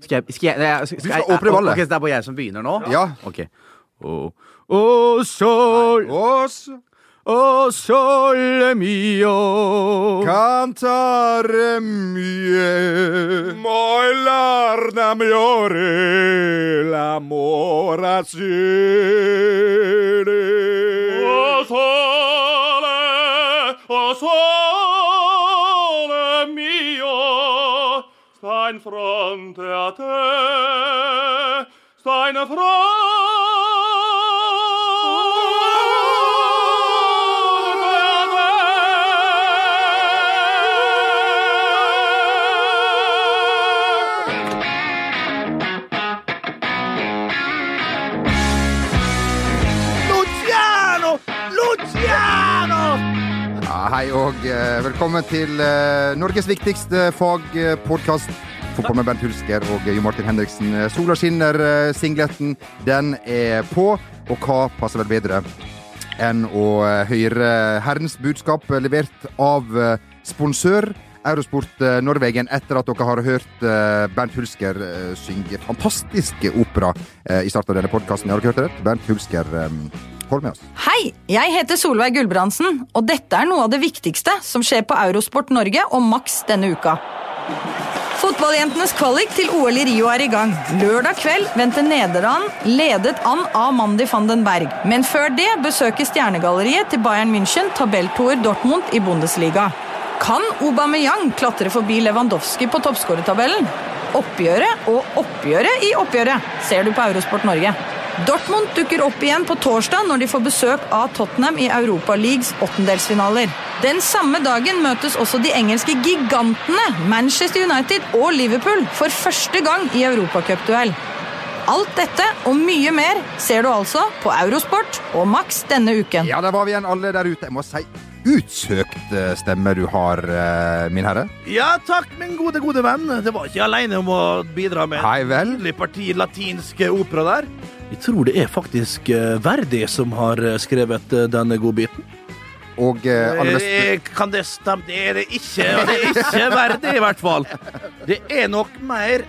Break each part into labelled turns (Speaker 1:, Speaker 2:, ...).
Speaker 1: Skal jeg, skal jeg, nei, jeg- skal,
Speaker 2: Du skal åpne ballet.
Speaker 1: Ok, så det er bare jeg som begynner nå?
Speaker 2: Ja.
Speaker 1: Ok. Å, å, sol,
Speaker 2: Oss
Speaker 1: å, sole mio.
Speaker 2: cantare mie Moilarna miore l'amore azzurri
Speaker 3: sole, o sole mio, sta in fronte a te, sta in fronte a te.
Speaker 1: Luciano! Luciano!
Speaker 2: Ja, hei og eh, velkommen til eh, Norges viktigste fagpodkast. Fotball med Bent Hulsker og Jo Martin Henriksen. Eh, Sola skinner, eh, singleten den er på. Og hva passer vel bedre enn å eh, høre Herrens budskap eh, levert av eh, sponsør Eurosport eh, Norwegen etter at dere har hørt eh, Bernt Hulsker eh, synge fantastisk opera eh, i starten av denne podkasten. Har dere hørt det? rett? Bernt Hulsker, eh, hold med oss.
Speaker 4: Hei, jeg heter Solveig Gulbrandsen, og dette er noe av det viktigste som skjer på Eurosport Norge og Max denne uka. Fotballjentenes kvalik til OL i Rio er i gang. Lørdag kveld vendte Nederland ledet an av Mandy van den Berg. Men før det besøker Stjernegalleriet til Bayern München tabelltoer Dortmund i Bundesliga. Kan Aubameyang klatre forbi Lewandowski på toppskårertabellen? Oppgjøret og oppgjøret i oppgjøret ser du på Eurosport Norge. Dortmund dukker opp igjen på torsdag når de får besøk av Tottenham i Europa Leagues åttendelsfinaler. Den samme dagen møtes også de engelske gigantene Manchester United og Liverpool for første gang i europacupduell. Alt dette og mye mer ser du altså på Eurosport og Max denne uken.
Speaker 2: Ja, der var vi igjen, alle der ute. Jeg må si utsøkt eh, stemme du har, eh, min herre.
Speaker 5: Ja takk, min gode, gode venn. Det var ikke aleine om å bidra med
Speaker 2: Hei vel.
Speaker 5: nydelig parti latinsk opera der. Jeg tror det er faktisk eh, Verdi som har eh, skrevet eh, denne godbiten.
Speaker 2: Og eh, aller best
Speaker 5: Eh, Kan det stemme? Det er det ikke. og Det er ikke Verdi, i hvert fall. Det er nok mer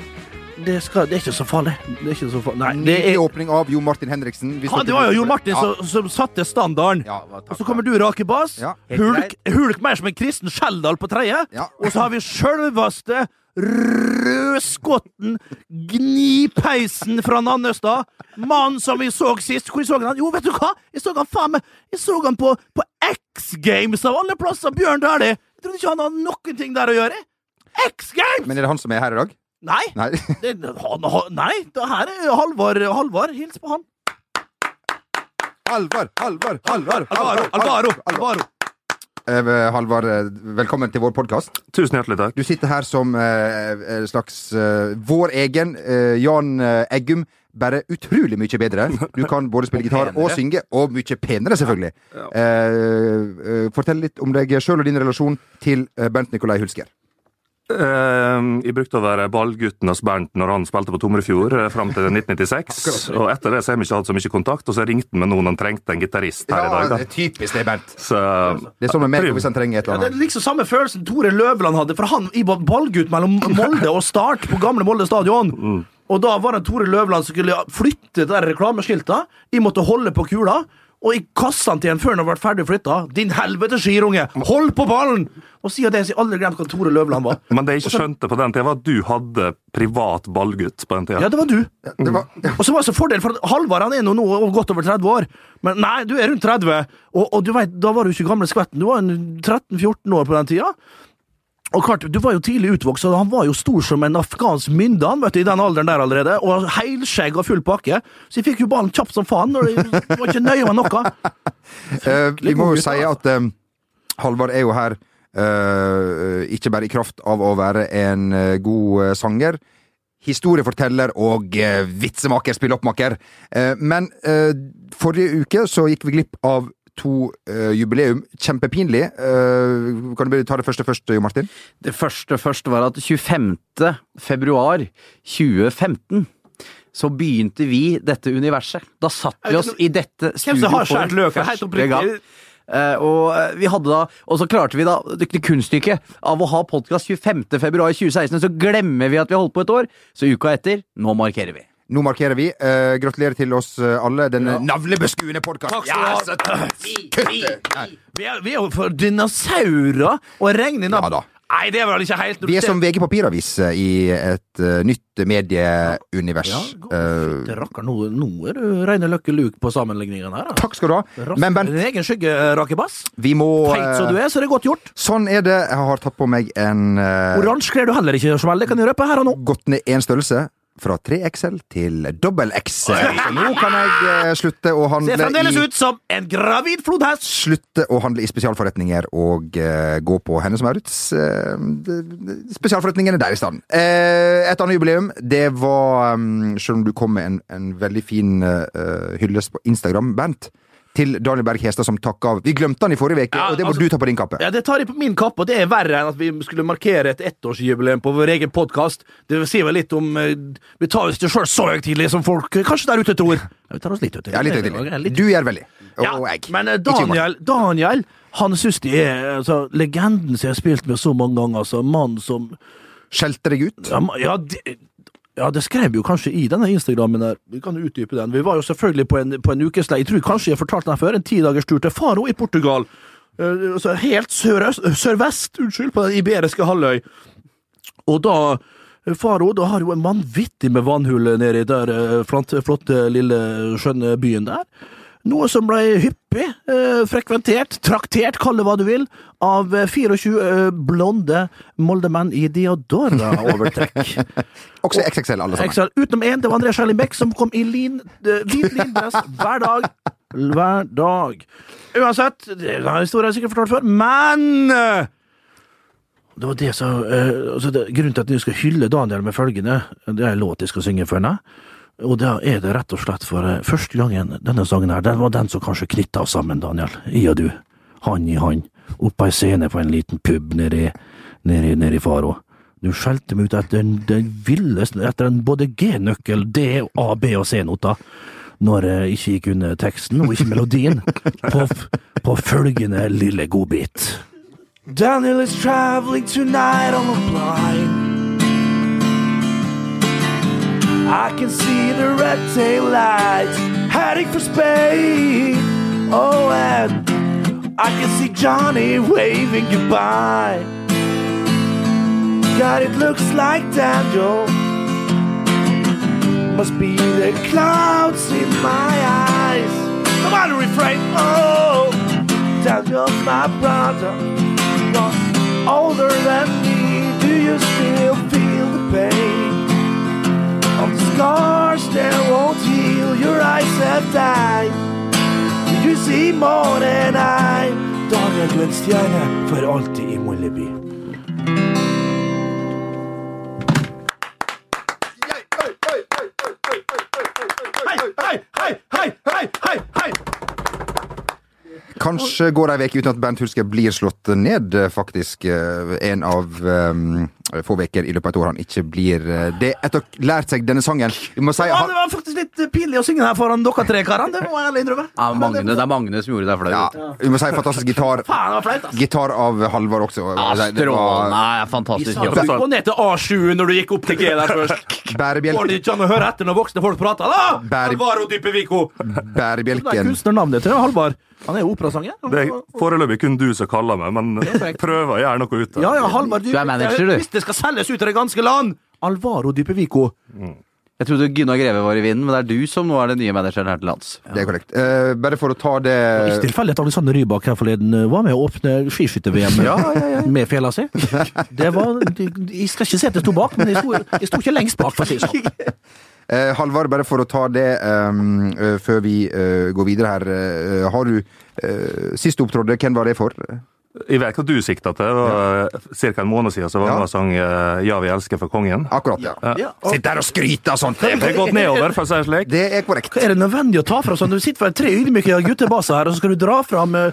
Speaker 5: Det, skal, det er ikke så farlig. Det er ikke så farlig. Nei, Eh, det
Speaker 2: Nydelig
Speaker 5: er
Speaker 2: åpning av Jo Martin Henriksen. Hvis
Speaker 5: han,
Speaker 2: dere-
Speaker 5: det var jo Jon Martin som, som satte standarden.
Speaker 2: Ja, ja,
Speaker 5: Og så kommer du, Rake Bass.
Speaker 2: Ja.
Speaker 1: Helt
Speaker 5: Hulk, hulk mer som en kristen Skjeldal på tredje.
Speaker 2: Ja.
Speaker 5: Og så har vi sjølveste rødskotten, gnipeisen fra Nannestad. Mannen som vi så sist. Hvor så han? Jo, vet du hva? Jeg så han faen meg Jeg så han på, på X Games av alle plasser! Bjørn Dæhlie! Jeg trodde ikke han hadde noen ting der å gjøre. X Games!
Speaker 2: Men er det han som er her i dag?
Speaker 5: Nei!
Speaker 2: Nei.
Speaker 5: Det, han, han, nei, det her er Halvor. Halvor, hils på han.
Speaker 2: Halvard, Halvard, Halvard!
Speaker 5: Alvaro! Alvaro! Alvaro.
Speaker 2: Eh, Halvard, eh, velkommen til vår podkast.
Speaker 3: Tusen hjertelig takk.
Speaker 2: Du sitter her som eh, eh, slags eh, vår egen eh, Jan eh, Eggum. Bare utrolig mye bedre. Du kan både spille gitar og
Speaker 5: penere.
Speaker 2: synge, og mye penere, selvfølgelig. Eh, eh, fortell litt om deg sjøl og din relasjon til eh, Bernt Nikolai Hulsker.
Speaker 3: Eh, jeg brukte å være ballgutten hos Bernt når han spilte på Tomrefjord eh, fram til 1996. og etter det så har vi ikke hatt så mye kontakt, og så ringte han med noen han trengte en gitarist her i dag.
Speaker 2: det er typisk det, Bernt.
Speaker 3: Da. Så
Speaker 2: Det er sånn med meg hvis han trenger et
Speaker 5: Ja,
Speaker 2: eller
Speaker 5: det er
Speaker 2: annet.
Speaker 5: liksom samme følelsen Tore Løvland hadde, for han i var ballgutt mellom Molde og Start på gamle Molde stadion. Og da var det Tore Løvland som skulle flytte det der reklameskiltet. Jeg måtte holde på kula. Og jeg kasta den til en før den ble ferdig flytta. Din helvete skirunge! Hold på ballen! Og siden det har jeg aldri glemt hva Tore Løvland var.
Speaker 3: Men det jeg ikke skjønte på den tida, var at du hadde privat ballgutt på den tida.
Speaker 5: Ja, det var du.
Speaker 2: Det var,
Speaker 5: Og så var det så fordel, for at Halvard han er nå, nå og godt over 30 år. Men nei, du er rundt 30, og, og du vet, da var du ikke gamle skvetten. Du var en 13-14 år på den tida. Og klart, Du var jo tidlig utvokst, og han var jo stor som en afghansk mynde han, vet du, i den alderen der allerede. Og helskjegg og full pakke. Så jeg fikk jo ballen kjapt som faen. Og det det var ikke nøye med noe.
Speaker 2: eh, vi må
Speaker 5: god
Speaker 2: jo
Speaker 5: gutt,
Speaker 2: si at eh, Halvard er jo her eh, ikke bare i kraft av å være en eh, god eh, sanger, historieforteller og eh, vitsemaker, spilloppmaker. Eh, men eh, forrige uke så gikk vi glipp av to eh, jubileum. Kjempepinlig. Eh, kan du ta det første først, Jo Martin?
Speaker 1: Det første først var at 25. februar 2015 så begynte vi dette universet. Da satt vi oss i dette
Speaker 5: Hvem
Speaker 1: studioet
Speaker 5: som har skåret løk? for Helt oppriktig.
Speaker 1: Eh, og eh, vi hadde da, og så klarte vi da det det kunststykket av å ha podkast 25.2.2016, så glemmer vi at vi har holdt på et år. Så uka etter, nå markerer vi.
Speaker 2: Nå markerer vi. Eh, gratulerer til oss eh, alle. Denne navlebeskuende podkasten.
Speaker 5: Vi er, vi er jo for dinosaurer og regn i
Speaker 2: Ja
Speaker 5: napp.
Speaker 2: da.
Speaker 5: Nei, det er vel ikke helt
Speaker 2: Vi er som VG Papiravis eh, i et eh, nytt medieunivers.
Speaker 5: ja,
Speaker 2: Eh,
Speaker 5: det rakker nå, nå er du reine Løkke Luke på sammenligningen her. Da.
Speaker 2: takk skal du ha. Men Bent,
Speaker 5: Din egen skygge, eh, Rakebass.
Speaker 2: vi må
Speaker 5: Feit som du
Speaker 2: eh,
Speaker 5: er, så det er godt gjort.
Speaker 2: Sånn er det. Jeg har tatt på meg en eh,
Speaker 5: Oransje kler du heller ikke, Jarsmell. Det kan jeg røpe her og nå.
Speaker 2: gått ned én størrelse. Fra 3XL til dobbel XL. Så nå kan jeg eh, slutte å handle
Speaker 5: Ser fremdeles
Speaker 2: i
Speaker 5: ut som en gravid flodhest.
Speaker 2: Slutte å handle i spesialforretninger og eh, gå på Hennes og Maurits. eh, d- d- spesialforretningene der i stedet. Eh, et annet jubileum, det var mm, Selv om du kom med en, en veldig fin eh, hyllest på Instagram, Bernt, til Daniel Berg Hestad som takk av. Vi glemte han i forrige uke,
Speaker 5: Ja,
Speaker 2: og det må
Speaker 5: altså-
Speaker 2: du ta på din kappe.
Speaker 5: Ja, Det tar de på min kappe, og det er verre enn at vi skulle markere et ettårsjubileum på vår egen podkast. Det sier vel litt om eh, Vi tar oss ikke sjøl så høytidelig som folk eh, kanskje der ute tror. Ja, vi tar oss litt høytidelig.
Speaker 2: Ja, litt
Speaker 5: Ja,
Speaker 2: høytidelig.
Speaker 5: litt-
Speaker 2: Du gjør veldig. Og,
Speaker 5: Ja,
Speaker 2: og jeg.
Speaker 5: Men eh,
Speaker 2: Ikke humor.
Speaker 5: Daniel, Daniel han syns de er altså, legenden som jeg har spilt med så mange ganger. Altså, Mannen som
Speaker 2: Skjelte deg ut.
Speaker 5: ja, ma- ja, det- ja, det skrev jo kanskje i denne Instagrammen der. Vi kan jo utdype den. Vi var jo selvfølgelig på en, på en ukesleie. Jeg tror kanskje jeg fortalte den før. En tidagers tur til Faro i Portugal. Eh, altså helt sørøst, sørvest, unnskyld, på den iberiske halvøy. Og da Faro da har jo en vanvittig med vannhull nedi der eh, flott- flotte, lille, skjønne byen der. Noe som ble hyppig eh, frekventert, traktert, kall det hva du vil, av eh, 24 eh, blonde moldemenn i Diodora-overtrekk.
Speaker 2: Også XXL, alle sammen.
Speaker 5: XL, utenom én, det var André Skjelling Bech, som kom i lin, eh, hvit lindress hver dag. Hver dag. Uansett, den historien har jeg sikkert fortalt før, men eh, det var det som eh, altså det, Grunnen til at jeg skal hylle Daniel med følgende, det er en låt jeg skal synge for henne. Og da er det rett og slett for eh, første gangen denne sangen her, den var den som kanskje knytta oss sammen, Daniel. Jeg og du. Hand i hand. Opp på ei scene på en liten pub nedi, nedi, nedi Faro. Du skjelte meg ut etter den, den villeste, etter en både G-nøkkel, D, A, B og C-nota. Når jeg ikke gikk under teksten, og ikke melodien, på, f- på følgende lille godbit. Daniel is traveling tonight on the blind. I can see the red tail lights heading for space. Oh, and I can see Johnny waving goodbye. God, it looks like Daniel must be the clouds in my eyes. Come on, refrain. Oh, Daniel's my brother not older than me. Do you still feel the pain of the scars that won't heal? Your eyes have died. Do you see more than I? Daniel, du er en stjerne for alltid i Molleby. Hei, hei, hei, hei, hei, hei!
Speaker 2: Kanskje går det ei uke uten at Bernt Hulsker blir slått ned, eh, faktisk. eh, En av eh, få uker i løpet av et år han ikke blir eh, det. Etter å ha lært seg denne sangen Vi må si
Speaker 5: Ja, det
Speaker 2: han,
Speaker 5: var faktisk litt eh, pinlig å synge her foran dere tre karene. Det må jeg ærlig innrømme.
Speaker 1: Ja, Magne, det er Magne som gjorde deg flau.
Speaker 2: ja, vi må si fantastisk gitar.
Speaker 5: Faen, det var flaut, ass.
Speaker 2: Gitar av Halvard også.
Speaker 1: Ja,
Speaker 2: Det
Speaker 1: Strålende.
Speaker 2: var
Speaker 1: Nei,
Speaker 5: Vi
Speaker 1: Fantastisk.
Speaker 5: sa
Speaker 1: jobb.
Speaker 5: du gå ned til A7 når du gikk opp til G der først. Går
Speaker 2: bærebjelken,
Speaker 5: det ikke an å høre etter når voksne folk prater, da?
Speaker 2: Berg-
Speaker 5: Alvaro dype Vico. Det er
Speaker 2: bærebjelken.
Speaker 5: kunstnernavnet til Halvard. Han er jo operasanger.
Speaker 3: Det er foreløpig kun du som kaller meg, men prøver å gjøre noe ut av
Speaker 5: Ja, ja, Halvard Dype-
Speaker 1: Du er manager, du.
Speaker 5: Hvis det skal selges ut til det ganske land! Alvaro dype Vico.
Speaker 1: Jeg trodde Gunnar Greve var i vinden, men det er du som nå er den nye manageren her til lands.
Speaker 2: Det er korrekt. Eh, bare for å ta det
Speaker 5: Ikke tilfeldig at Alexander Rybak her forleden eh, var med å åpne skiskytter-VM eh, med fjella si. Det var Jeg skal ikke si at jeg sto bak, men jeg sto, jeg sto ikke lengst bak, for å si det sånn.
Speaker 2: eh, Halvard, bare for å ta det ehm, eh, før vi eh, går videre her. eh, har du eh, Sist du opptrådde, hvem var det for?
Speaker 3: Jeg vet hva du sikta til. Det var ca. en måned siden så var
Speaker 2: Ja.
Speaker 3: det en sang eh, 'Ja, vi elsker for kongen'. Eh,
Speaker 2: Akkurat, ja.
Speaker 5: Ja.
Speaker 2: Sitt der og skryte av sånt!
Speaker 3: Det har gått nedover, for å si det slik.
Speaker 2: Det er korrekt.
Speaker 5: Er det nødvendig å ta fra sånn? Du sitter vel tre ydmyke guttebaser her, og så skal du dra fram eh,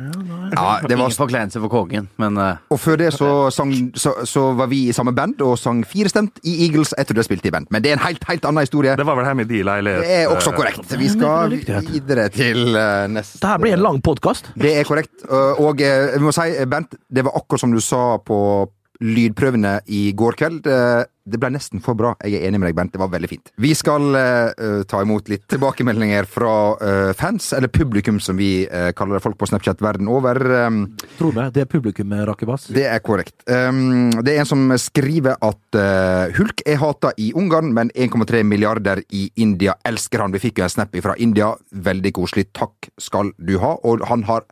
Speaker 2: Ja, det var
Speaker 1: Ingen forkleinelse for kongen, men eh,
Speaker 2: Og før det så, sang, så, så var vi i samme band og sang firestemt i Eagles etter du spilte i band. Men det er en helt, helt annen historie.
Speaker 3: Det var vel hjemme i din leilighet. eh,
Speaker 2: Det er også korrekt. Vi skal videre til eh, neste
Speaker 5: Dette her blir en lang podkast.
Speaker 2: Det er korrekt. Eh, Og eh, vi må si, eh, Bent, det var akkurat som du sa på lydprøvene i går kveld. Eh, Det ble nesten for bra. Jeg er enig med deg, Bent. Det var veldig fint. Vi skal eh, eh, ta imot litt tilbakemeldinger fra eh, fans, eller publikum som vi eh, kaller det, folk på Snapchat verden over. Eh,
Speaker 6: Tror meg, det er publikum
Speaker 5: eh,
Speaker 6: med Rakebass.
Speaker 2: Det er korrekt. Um, det er en som skriver at uh, Hulk er hata i Ungarn, men 1,3 milliarder i India elsker han. Vi fikk jo en snap fra India. Veldig koselig. Takk skal du ha. Og han har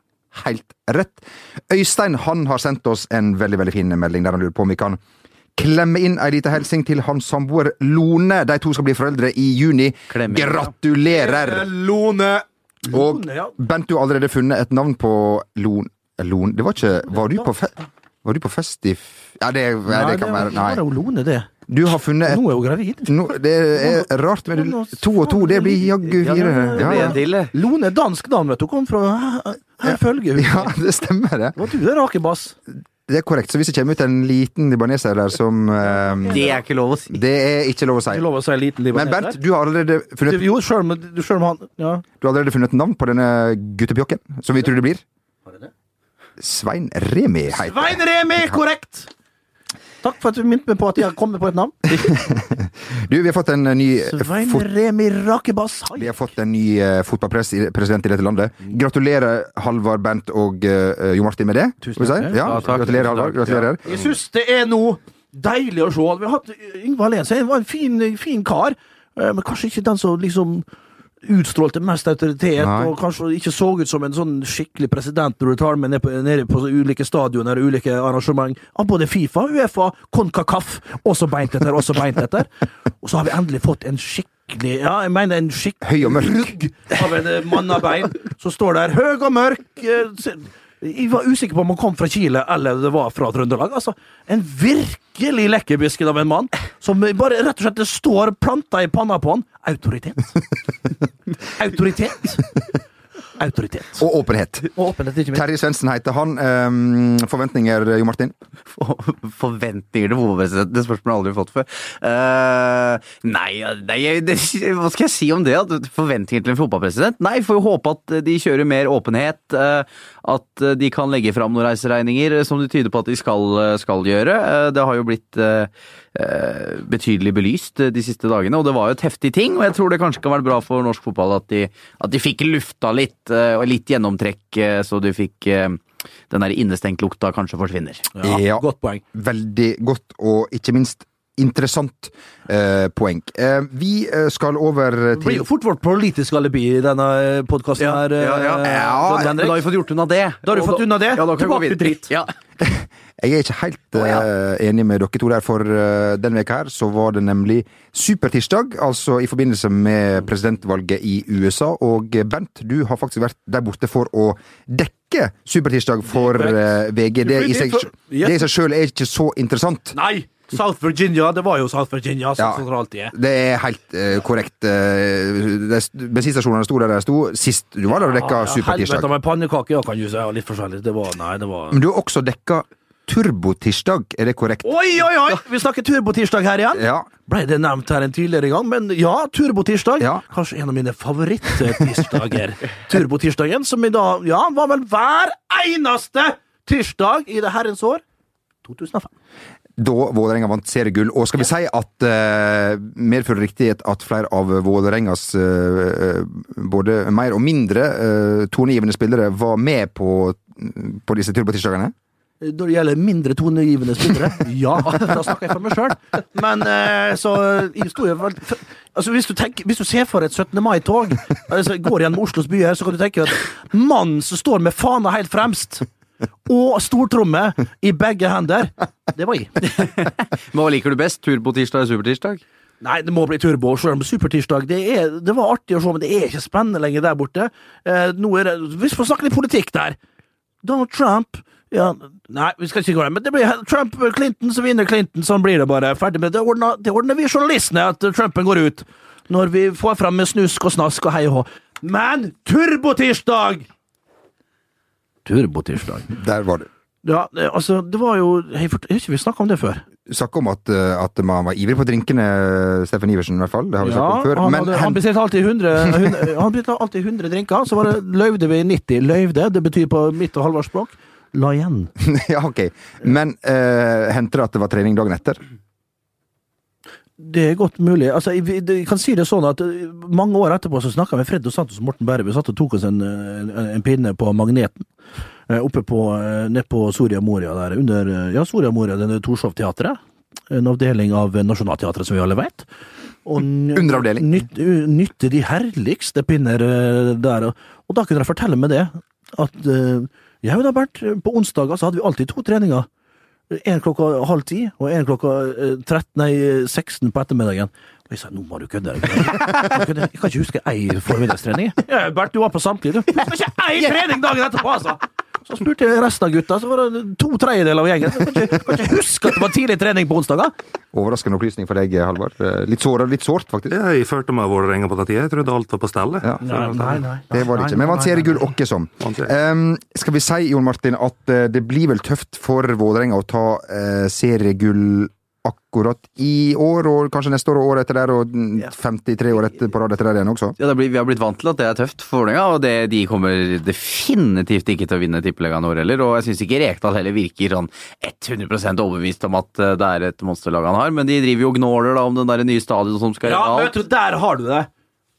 Speaker 2: helt rett. Øystein han har sendt oss en veldig veldig fin melding der han lurer på om vi kan klemme inn ei lita hilsen til hans samboer Lone. De to skal bli foreldre i juni.
Speaker 1: Klemme inn, ja.
Speaker 2: Gratulerer!
Speaker 5: Lone!
Speaker 2: Og
Speaker 5: Lone, ja.
Speaker 2: Bent, du har allerede funnet et navn på Lon... Lon det var ikke Var du på, fe var du på fest i f Ja, det, ja, det kan være
Speaker 5: Nå er det
Speaker 2: Nei. Eh,
Speaker 5: jo Lone, det.
Speaker 2: Du har funnet et
Speaker 5: Nå er hun gravid.
Speaker 2: no, Det er rart, men du- to og to, det blir jaggu fire.
Speaker 1: det
Speaker 2: Ja,
Speaker 1: blir
Speaker 2: ja.
Speaker 1: en til, eh. det.
Speaker 5: Lone er dansk navn, vet du. Kom fra her, her følger hun.
Speaker 2: ja, det stemmer, det.
Speaker 5: Var du en rakebass?
Speaker 2: Det er korrekt. Så hvis det kommer ut en liten libaneser der som eh,
Speaker 1: Det er ikke lov å si.
Speaker 2: Det er ikke lov å si.
Speaker 5: Ikke lov å si liten
Speaker 2: Men
Speaker 5: libaneser.
Speaker 2: Bernt, du har allerede funnet,
Speaker 5: Jo, sjøl om sjøl om han Ja.
Speaker 2: du har allerede funnet et navn på denne guttepjokken, som vi tror det blir. Svein Remi heter
Speaker 5: Svein Remi, korrekt! Takk for at du minte meg på at jeg har kommet på et navn.
Speaker 2: Du, vi har fått en ny
Speaker 5: Svein
Speaker 2: fot...
Speaker 5: Remi Rakebass. Hai.
Speaker 2: Vi har fått en ny eh, fotballpresident i dette landet. Gratulerer, Halvard, Bent og eh, Jo Martin, med det.
Speaker 5: Tusen
Speaker 2: Vil vi si?
Speaker 5: takk.
Speaker 2: Ja,
Speaker 1: Ja, takk.
Speaker 2: gratulerer, Halvard.
Speaker 1: Tusen takk.
Speaker 2: Gratulerer.
Speaker 5: Jeg syns det er noe deilig å se. Vi har hatt Yngve Halense var en fin, fin kar, eh, men kanskje ikke den som liksom utstrålte mest autoritet,
Speaker 2: Nei.
Speaker 5: og kanskje ikke så ut som en sånn skikkelig president når du tar med ned på, nede på ulike stadioner og ulike arrangement av både Fifa, Uefa, CONCACAF, også beint etter, også beint etter. Og så har vi endelig fått en skikkelig Ja, jeg mener en skikkelig
Speaker 2: Høy og mørk.
Speaker 5: rygg av en eh, mann av bein som står der høg og mørk. eh, se- Jeg var usikker på om han kom fra Chile eller det var fra Trøndelag. Altså, en virkelig lekkerbisken av en mann som bare rett og slett det står planta i panna på han. Autoritet. Autoritet. Autoritet.
Speaker 2: Og åpenhet.
Speaker 5: Og åpenhet, ikke minst.
Speaker 2: Terje Svendsen heter han. Ehm, forventninger, Jo Martin?
Speaker 1: For- Forventninger til hovedpresidenten, det spørsmålet har jeg aldri fått før. Eh, nei, nei jeg- det, hva skal jeg si om det? At Forventninger til en fotballpresident? Nei, får jo håpe at de kjører mer åpenhet. eh, At de kan legge fram noen reiseregninger, eh, som det tyder på at de skal, eh, skal gjøre. Eh, Det har jo blitt eh, eh, betydelig belyst eh, de siste dagene, og det var jo et heftig ting. Og jeg tror det kanskje kan være bra for norsk fotball at de, at de fikk lufta litt, eh, og litt gjennomtrekk, eh, så du fikk eh, den der innestengt lukta kanskje forsvinner.
Speaker 2: Ja.
Speaker 5: Godt poeng.
Speaker 2: Veldig godt, og ikke minst interessant eh, poeng. Eh, vi eh, skal over
Speaker 5: Det blir
Speaker 2: til
Speaker 5: jo fort vårt politiske alibi i denne podkasten her.
Speaker 1: ja, ja.
Speaker 5: eh,
Speaker 2: Ja,
Speaker 1: Men
Speaker 5: Don
Speaker 1: da
Speaker 5: Henrik.
Speaker 1: har vi fått gjort unna det.
Speaker 5: Da har du
Speaker 1: Og
Speaker 5: fått unna det.
Speaker 1: Ja, da kan vi gå
Speaker 5: Tilbake
Speaker 1: videre.
Speaker 5: dit.
Speaker 1: Ja.
Speaker 2: Jeg er ikke helt eh, enig med dere to der, for eh, denne veka her så var det nemlig supertirsdag, altså i forbindelse med presidentvalget i USA, og eh, Bent, du har faktisk vært der borte for å dekke supertirsdag for eh, VG. Det i, seg, det i seg selv er ikke så interessant.
Speaker 5: Nei! South Virginia, det var jo South Virginia, sånn
Speaker 2: Ja.
Speaker 5: som det alltid er.
Speaker 2: Det er helt eh, korrekt. eh, det- Bensinstasjonene sto der de sto sist du var der og dekka supertirsdag.
Speaker 5: Helvete med pannekaker, ja, kan du si. Ja, litt forskjellig. Det var, nei, det var
Speaker 2: Men du har også dekka turbotirsdag, er det korrekt?
Speaker 5: Oi, oi, oi! Vi snakker turbotirsdag her igjen.
Speaker 2: Ja.
Speaker 5: Ble det nevnt her en tidligere gang, men ja, turbotirsdag.
Speaker 2: Ja.
Speaker 5: Kanskje en av mine favoritt-tirsdager. Turbotirsdagen, som i dag ja, var vel hver eneste tirsdag i det herrens år 2005.
Speaker 2: da Vålerenga vant seriegull. Og skal vi si at eh, medfører riktighet at flere av Vålerengas eh, eh, både mer og mindre eh, tonegivende spillere var med på, på disse turbotirsdagene?
Speaker 5: Når det gjelder mindre tonegivende spillere, ja, da snakker jeg for meg sjøl. Men eh, så jeg sto jo vel altså, hvis, du tenker, hvis du ser for et 17. mai-tog, altså, går gjennom Oslos by her, så kan du tenke at mannen som står med fana helt fremst, og stortromme i begge hender, det var jeg.
Speaker 1: Men hva liker du best? Turbotirsdag eller supertirsdag?
Speaker 5: Nei, det må bli turbo, sjøl om supertirsdag det, er, det var artig å se, men det er ikke spennende lenger der borte. Eh, nå er det, Hvis vi får snakke litt politikk der Donald Trump ja, Nei, vi skal ikke gå der, men det blir Trump Clinton som vinner Clinton, sånn blir det bare. Ferdig med det. Det ordner, det ordner vi journalistene, at Trumpen går ut. Når vi får fram med snusk og snask og hei og hå. Men turbotirsdag! turbotirsdag.
Speaker 2: Der var du.
Speaker 5: Ja, eh, altså, det var jo Jeg fort- jeg har ikke vi snakka om det før.
Speaker 2: Snakk om at, eh, at man var ivrig på drinkene, Steffen Iversen i hvert fall. Det har vi snakket
Speaker 5: Ja,
Speaker 2: om før.
Speaker 5: han,
Speaker 2: Men
Speaker 5: hadde,
Speaker 2: hen-
Speaker 5: han bestilte alltid 100, hun- han bestilte alltid 100 drinker, så var det løyvde vi 90. Løyvde, det betyr på mitt og Halvards språk la igjen.
Speaker 2: ja, ok. Men eh, hendte det at det var trening dagen etter?
Speaker 5: Det er godt mulig. Altså, jeg, vi- jeg kan si det sånn at eh, Mange år etterpå så snakka vi med Fred og Santos og Morten Berre. Vi satt og tok oss en, eh, en, en pinne på Magneten eh, oppe på, eh, ned på Soria Moria der. Under, eh, ja, Soria Moria, denne Torshov-teatret. En avdeling av eh, Nationaltheatret, som vi alle vet. Og n-
Speaker 2: Underavdeling.
Speaker 5: Nyt, u- nytte de herligste pinner eh, der. og- Og da kunne de fortelle meg det. At eh, ja, da, Bernt, på onsdager så hadde vi alltid to treninger. En klokka halv ti, og en klokka eh, 13, nei, 16 på ettermiddagen. Og jeg sa nå må du kødde. Jeg kan ikke huske ei formiddagstrening. Ja, Bernt, du var på samtlige, du. Husker ikke ei trening dagen etterpå, altså! Så spurte jeg resten av gutta, så var det to tredjedeler av gjengen. Jeg kan ikke, kan ikke huske at det var tidlig trening på onsdager.
Speaker 2: Overraskende opplysning for deg, Halvard. Eh, Litt såret, litt sårt, faktisk.
Speaker 3: Jeg følte meg Vålerenga på den tida. Jeg trodde alt var på stell. jeg.
Speaker 2: Ja.
Speaker 5: nei.
Speaker 2: Det var det ikke. Men man ser i gull åkke som.
Speaker 3: Man ser.
Speaker 2: Ehm, skal vi si, Jon Martin, at eh, det blir vel tøft for Vålerenga å ta eh, seriegull akkurat i år, og kanskje neste år og året etter der, og mm, 53 år etter, på rad etter der igjen også?
Speaker 1: Ja, det blir, Vi har blitt vant til at det er tøft for Vålerenga, og det, de kommer definitivt ikke til å vinne Tippeligaen i år heller. Og jeg syns ikke Rekdal heller virker sånn 100 overbevist om at eh, det er et monsterlag han har, men de driver jo og gnåler da om den der nye stadion som skal
Speaker 5: Ja,
Speaker 1: gjøre
Speaker 5: vet du, der har du det!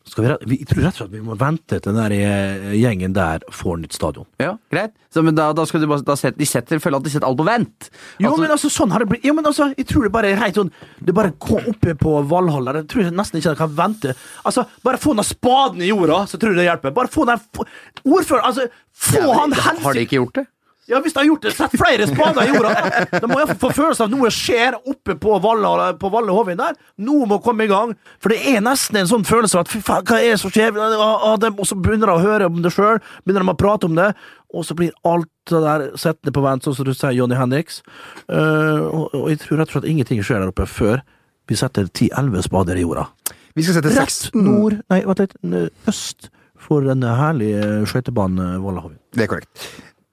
Speaker 5: Skal vi, re- vi jeg tror rett og slett vi må vente til den der eh, gjengen der får nytt stadion.
Speaker 1: Ja, greit. Så, men da, da skal du bare da set, De setter, føler at de setter alt på vent.
Speaker 5: Jo,
Speaker 1: Altså,
Speaker 5: men altså, sånn har det blitt. Jo, men altså, jeg tror det bare er helt sånn Det bare kom oppe på Valhall der. Jeg tror jeg nesten ikke de kan vente. Altså, Bare få den spaden i jorda, så tror jeg det hjelper. Bare få den få- Ordfører, altså Få han
Speaker 1: Har de
Speaker 5: helsike
Speaker 1: ikke gjort det?
Speaker 5: Ja, hvis de har gjort det, sett flere spader i jorda! Da må jeg få følelsen av at noe skjer oppe på Valle, på Valle Hovin der. Noe må komme i gang. For det er nesten en sånn følelse av at fy faen, hva er det som skjer? Ah, ah, dem- Og så begynner de å høre om det sjøl, begynner de å prate om det, og så blir alt det der settende på vent, sånn som du sier, Johnny Henriks. Eh, og, og jeg tror rett og slett ingenting skjer der oppe før vi setter 10-11 spader i jorda.
Speaker 2: Vi skal sette
Speaker 5: Rett
Speaker 2: 16
Speaker 5: nord, nei, vent litt, n- øst for den herlige skøytebanen Valle Hovin.
Speaker 2: Det er korrekt.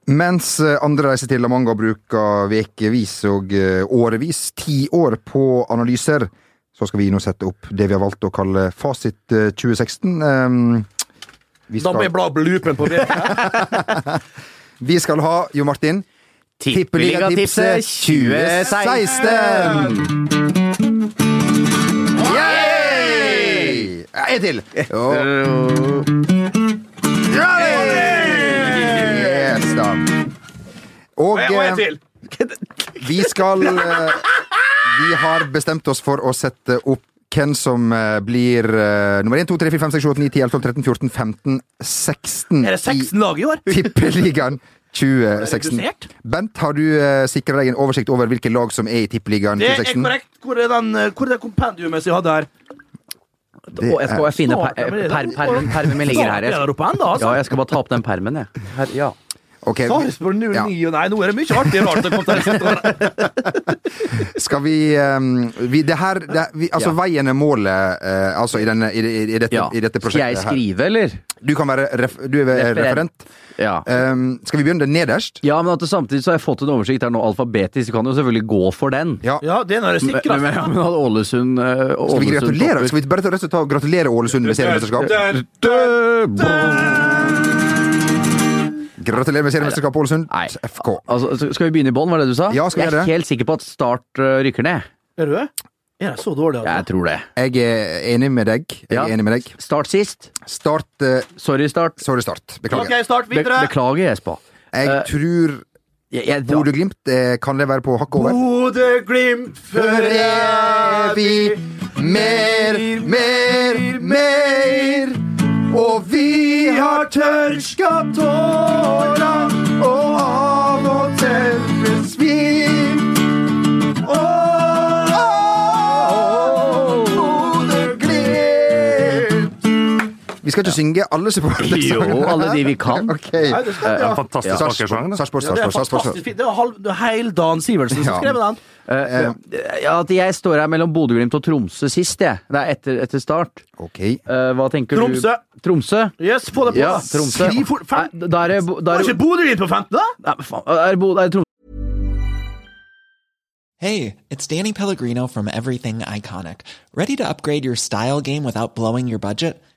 Speaker 2: Mens eh, andre reiser til La Manga og bruker ukevis og eh, årevis, tiår, på analyser, så skal vi nå sette opp det vi har valgt å kalle Fasit eh, 2016. Ehm, vi, skal,
Speaker 5: bla opp lupen på det.
Speaker 2: vi skal ha, Jo Martin, Tippeligatipset 2016! Yay! Ja, En til. Og... Yes, da. Og, eh, Vi skal eh, Vi har bestemt oss for å sette opp hvem som eh, blir eh, nummer 1, 2, 3, 4, 5, 6, 7, 8, 9, 10, 11, 12, 13, 14, 15, 16
Speaker 5: Er det 16 lag i år?
Speaker 2: i Tippeligaen 2016.
Speaker 5: Redusert?
Speaker 2: Bent, har du uh, sikra deg en oversikt over hvilke lag som er i Tippeligaen
Speaker 5: Det er
Speaker 2: 2016?
Speaker 5: korrekt. Hvor er, den, eh, hvor er det kompendiumet som jeg hadde her?
Speaker 2: Det
Speaker 1: Og jeg skal
Speaker 2: er-
Speaker 1: bare finne
Speaker 5: Snart,
Speaker 1: per,
Speaker 5: ja, men det-
Speaker 1: per, permen, permen min ligger
Speaker 5: Snart
Speaker 1: her.
Speaker 5: er der
Speaker 1: Jeg.
Speaker 5: oppe enda, altså.
Speaker 1: Ja, jeg skal bare ta opp den permen, jeg. Her, ja.
Speaker 2: Ok,
Speaker 5: Sarpsborg 09
Speaker 2: Ja.
Speaker 5: og Nei, nå er det mye artig rart som kommer til å komme.
Speaker 2: Skal vi, um, vi Det her det, vi, Altså, veien er målet, eh, altså, i, denne, i, i, i, dette,
Speaker 1: ja.
Speaker 2: i dette
Speaker 1: Skal jeg
Speaker 2: prosjektet her.
Speaker 1: skrive, eller?
Speaker 2: Du kan være ref, du er
Speaker 1: Referent.
Speaker 2: referent.
Speaker 1: Ja.
Speaker 2: Um, skal vi begynne nederst?
Speaker 1: Ja, men at det samtidig så har jeg fått en oversikt her nå alfabetisk, så kan du jo selvfølgelig gå for den.
Speaker 2: Ja. altså.
Speaker 5: Ja, det er når det
Speaker 1: Men,
Speaker 5: sikrer
Speaker 1: men, men at Ålesund, eh,
Speaker 2: Skal vi
Speaker 1: Ålesund
Speaker 2: gratulere?
Speaker 1: topper-
Speaker 2: Skal vi bare ta- rett og slett ta og gratulere Ålesund med seriemesterskap? Gratulerer med seriemesterskap, Ålesund.
Speaker 1: Nei.
Speaker 2: FK.
Speaker 1: Altså, så- skal vi begynne i bånn, var det du sa?
Speaker 2: Ja, skal vi
Speaker 1: jeg
Speaker 2: gjøre
Speaker 1: er
Speaker 2: det?
Speaker 1: helt sikker på at Start eh, rykker ned.
Speaker 5: Er du det? Er jeg så dårlig?
Speaker 1: Jeg
Speaker 5: Altså?
Speaker 1: tror det.
Speaker 2: Jeg er enig med deg. Jeg
Speaker 1: Ja.
Speaker 2: er enig med deg.
Speaker 1: Start sist.
Speaker 2: Start eh,
Speaker 1: Sorry, Start.
Speaker 2: Sorry, Start.
Speaker 5: Ok,
Speaker 2: Beklager.
Speaker 5: start
Speaker 1: Be
Speaker 5: videre.
Speaker 1: beklager, Jesper.
Speaker 2: Jeg
Speaker 1: eh,
Speaker 2: tror
Speaker 1: Jeg, jeg,
Speaker 2: Bodø-Glimt eh, kan det være på hakket over.
Speaker 5: Bodø-Glimt
Speaker 2: For
Speaker 5: for evig.
Speaker 2: evig. Mer, mer, mer. Og vi har tørka tåra, og av og til blir vi. Åh, Bodø-Glimt. Vi skal ikke synge alle
Speaker 1: Jo,
Speaker 2: supportersangene?
Speaker 1: alle de vi kan.
Speaker 2: Ok.
Speaker 5: Nei, det skal,
Speaker 3: En
Speaker 5: ja.
Speaker 3: fantastisk
Speaker 2: Ja.
Speaker 3: vakersang. da.
Speaker 2: Sarpsborg,
Speaker 5: Ja, det
Speaker 2: Sarpsborg,
Speaker 5: er
Speaker 2: Sarpsborg.
Speaker 5: fantastisk fint. Det er halv- det er heil Dan Sivertsen som
Speaker 2: Ja.
Speaker 5: skrev den.
Speaker 1: Eh, ja, at jeg står her mellom Bodø-Glimt og Tromsø sist, jeg. Det er etter, etter start.
Speaker 2: Ok.
Speaker 1: Eh, hva tenker
Speaker 5: Tromsø!
Speaker 1: du? Tromsø.
Speaker 5: Yes, få det på!
Speaker 1: Ja,
Speaker 5: da.
Speaker 1: Tromsø.
Speaker 5: Skriv fort!
Speaker 1: Nei,
Speaker 5: Fem.
Speaker 1: Da er det Bo- da
Speaker 5: Var
Speaker 1: er
Speaker 5: ikke
Speaker 1: det-
Speaker 5: Bodø Glimt på 15, da?
Speaker 1: Nei, faen, er det Bo- er det Tromsø.
Speaker 7: Hey, it's Danny Pellegrino from Everything Iconic. Ready to upgrade your style game without blowing your budget?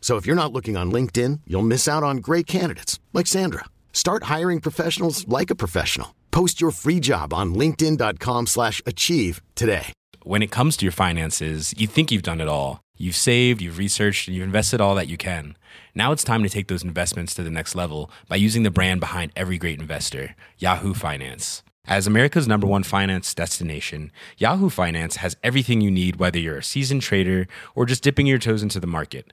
Speaker 8: So if you're not looking on LinkedIn, you'll miss out on great candidates like Sandra. Start hiring professionals like a professional. Post your free job on linkedin.com/achieve slash achieve today.
Speaker 9: when it comes to your finances, you think you've done it all. You've saved, you've researched, and you've invested all that you can. Now it's time to take those investments to the next level by using the brand behind every great investor, Yahoo Finance. As America's number one finance destination, Yahoo Finance has everything you need, whether you're a seasoned trader or just dipping your toes into the market.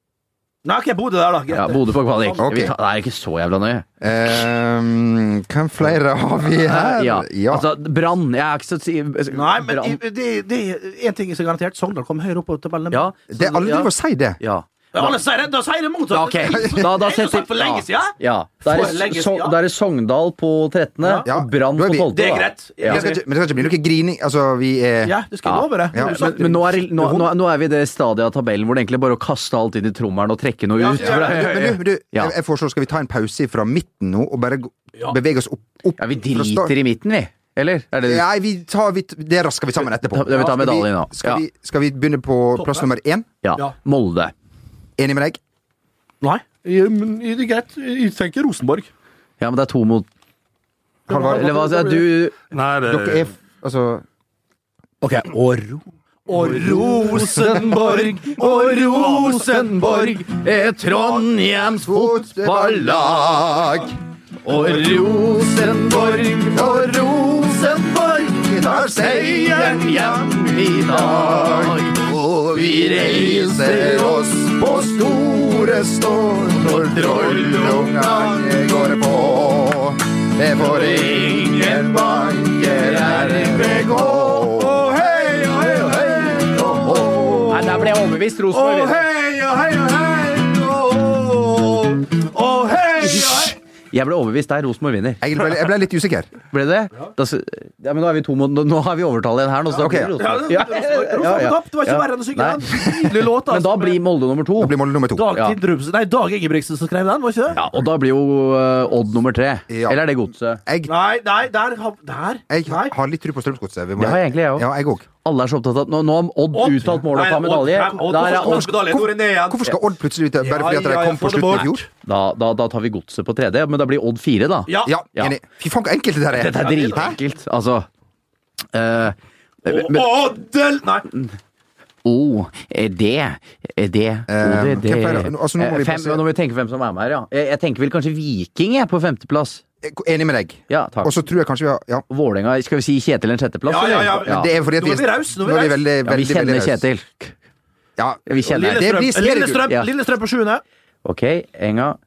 Speaker 5: Nei, ok, Bodø der, da.
Speaker 1: Ja, Bodø på kvalik.
Speaker 2: Ok.
Speaker 1: Vi tar- Det er ikke så jævla nøye.
Speaker 2: Ehm, hvem flere har vi her?
Speaker 1: Ja.
Speaker 2: Ja.
Speaker 1: Altså, Brann Jeg er ikke så si-
Speaker 5: Nei, men
Speaker 1: Brann.
Speaker 5: i- det det er én ting som er garantert. Sogndal kom høyere opp på tabellen.
Speaker 1: Ja. så-
Speaker 2: Det er alle
Speaker 1: ja.
Speaker 2: driver og sier det.
Speaker 1: Ja.
Speaker 5: Ja, alle sier det, da sier det motsatt.
Speaker 1: Da, ok. Da, da
Speaker 5: det er
Speaker 1: setter
Speaker 5: jo sagt for lenge
Speaker 1: Ja.
Speaker 5: siden.
Speaker 1: Ja. Da er
Speaker 5: For lenge
Speaker 1: det, so,
Speaker 5: siden.
Speaker 1: da er det Sogndal på 13.,
Speaker 2: Ja.
Speaker 1: og Brann
Speaker 2: Da er
Speaker 1: på
Speaker 2: vi-
Speaker 1: 12.
Speaker 5: Det er
Speaker 1: da.
Speaker 5: greit.
Speaker 2: Men det skal ikke, men det skal ikke bli noe grining. Altså, vi er
Speaker 5: Ja, du skal love det.
Speaker 2: Ja,
Speaker 5: Du
Speaker 1: Men,
Speaker 5: sagt
Speaker 1: men nå, er,
Speaker 5: det.
Speaker 1: nå, nå, nå er vi i det stadiet av tabellen hvor det egentlig bare er å kaste alt inn i trommelen og trekke noe
Speaker 5: Ja,
Speaker 1: ut.
Speaker 5: ja,
Speaker 1: for det-
Speaker 2: Men du, men du
Speaker 1: Ja.
Speaker 2: jeg foreslår skal vi ta en pause fra midten nå, og bare gå- bevege oss opp, opp
Speaker 1: Ja, vi
Speaker 2: fra start?
Speaker 1: driter i midten, vi. Eller? Er det det du-
Speaker 2: Nei, vi tar, vi, det rasker vi sammen etterpå.
Speaker 1: Ta- vi
Speaker 2: Skal
Speaker 1: tar medaljen nå.
Speaker 2: Skal,
Speaker 1: Ja.
Speaker 2: vi, skal vi begynne på plass nummer én?
Speaker 1: Ja.
Speaker 5: Ja.
Speaker 1: Molde.
Speaker 2: Enig med deg?
Speaker 5: Nei, ja, men det er greit. Jeg tenker Rosenborg.
Speaker 1: Ja, men det er to mot
Speaker 2: Halvard?
Speaker 1: Eller hva sier du?
Speaker 3: Nei, det,
Speaker 2: Dere er altså
Speaker 6: Ok, og ro.
Speaker 5: Og Rosenborg, og Rosenborg
Speaker 1: er Trondheims og Rosenborg, og Rosenborg
Speaker 2: tar seieren
Speaker 1: hjem i dag.
Speaker 2: Og
Speaker 1: vi reiser oss
Speaker 2: på store stå når
Speaker 1: trollungene
Speaker 2: går på. Det får
Speaker 1: ingen
Speaker 2: banker
Speaker 1: RBK.
Speaker 2: Og hei og hei og hei og hå.
Speaker 1: Nei, der ble jeg overbevist. Rosenborg vinner.
Speaker 2: hei og hei og hei og hei
Speaker 1: Jeg ble overbevist der. Rosenborg vinner.
Speaker 2: Jeg ble, jeg ble litt usikker.
Speaker 1: Ble det? Da, s- ja, men nå er vi to mot Nå har vi overtallet igjen her. Nå, så da
Speaker 2: Ok.
Speaker 1: blir det
Speaker 5: Ja,
Speaker 1: Rosenborg.
Speaker 5: det- Rosenborg
Speaker 1: Ja, ja, ja.
Speaker 5: tapt. Det var ikke
Speaker 1: Ja.
Speaker 5: verre enn å synge
Speaker 1: Nei.
Speaker 5: den. Nydelig låt, altså.
Speaker 1: Men da blir Molde nummer to.
Speaker 2: Da blir mål nummer to.
Speaker 5: Dag
Speaker 1: Ja.
Speaker 5: Tindrumsen Nei, Dag Ingebrigtsen som skrev den, var ikke det?
Speaker 1: Ja, og da blir jo eh, Odd nummer tre.
Speaker 2: Ja.
Speaker 1: Eller er det godset?
Speaker 2: Jeg,
Speaker 5: Nei, nei, der, har- der.
Speaker 2: jeg
Speaker 5: nei.
Speaker 2: har litt tro på Strømsgodset. Vi må-
Speaker 1: Det har jeg egentlig, jeg òg.
Speaker 2: Ja, jeg òg.
Speaker 1: Alle er så opptatt av at Nå, nå har Odd,
Speaker 5: Odd.
Speaker 1: uttalt målet og tar
Speaker 5: Nei,
Speaker 1: medalje.
Speaker 5: Odd- nei, Odd
Speaker 1: Der er
Speaker 5: får
Speaker 1: Odd,
Speaker 5: ikke medalje, Tore, ned igjen.
Speaker 2: Hvorfor skal Odd plutselig ut? Bare
Speaker 5: Ja,
Speaker 2: fordi at de
Speaker 5: ja, ja,
Speaker 2: kom på
Speaker 5: få det
Speaker 2: slutten i
Speaker 5: bort.
Speaker 2: fjor?
Speaker 1: da, da, da tar vi godset på tredje, men da blir Odd fire, da.
Speaker 5: Ja.
Speaker 2: Ja,
Speaker 1: Ja.
Speaker 2: enig. Fy faen, hvor enkelt det der er.
Speaker 1: Dette er dritenkelt. Altså eh,
Speaker 5: Og-
Speaker 1: men-
Speaker 5: og Del- Nei.
Speaker 1: O, eh, det, eh, det, O, det,
Speaker 2: hvem pleier det?
Speaker 1: det.
Speaker 2: Altså, nå må vi
Speaker 1: Eh, fem,
Speaker 2: passe-
Speaker 1: Nå må vi tenke hvem som er med her, ja. Jeg, jeg tenker vel kanskje Viking jeg, på femteplass.
Speaker 2: Eh, Enig med deg.
Speaker 1: Ja, takk.
Speaker 2: Og så tror jeg kanskje vi har ja.
Speaker 1: Vålerenga, skal vi si Kjetil en sjetteplass?
Speaker 5: Ja, ja, ja.
Speaker 1: eller?
Speaker 2: Det er fordi at
Speaker 5: Nå er vi raus, nå er vi
Speaker 2: veldig,
Speaker 1: Ja, vi
Speaker 5: raus.
Speaker 2: veldig, veldig
Speaker 1: kjenner
Speaker 2: raus.
Speaker 1: Kjetil.
Speaker 2: Ja,
Speaker 1: Vi kjenner
Speaker 2: Det blir
Speaker 5: Lillestrøm,
Speaker 2: seriegull.
Speaker 5: Lillestrøm,
Speaker 1: Ja.
Speaker 5: Lillestrøm på sjuende.
Speaker 1: Ok, Enga.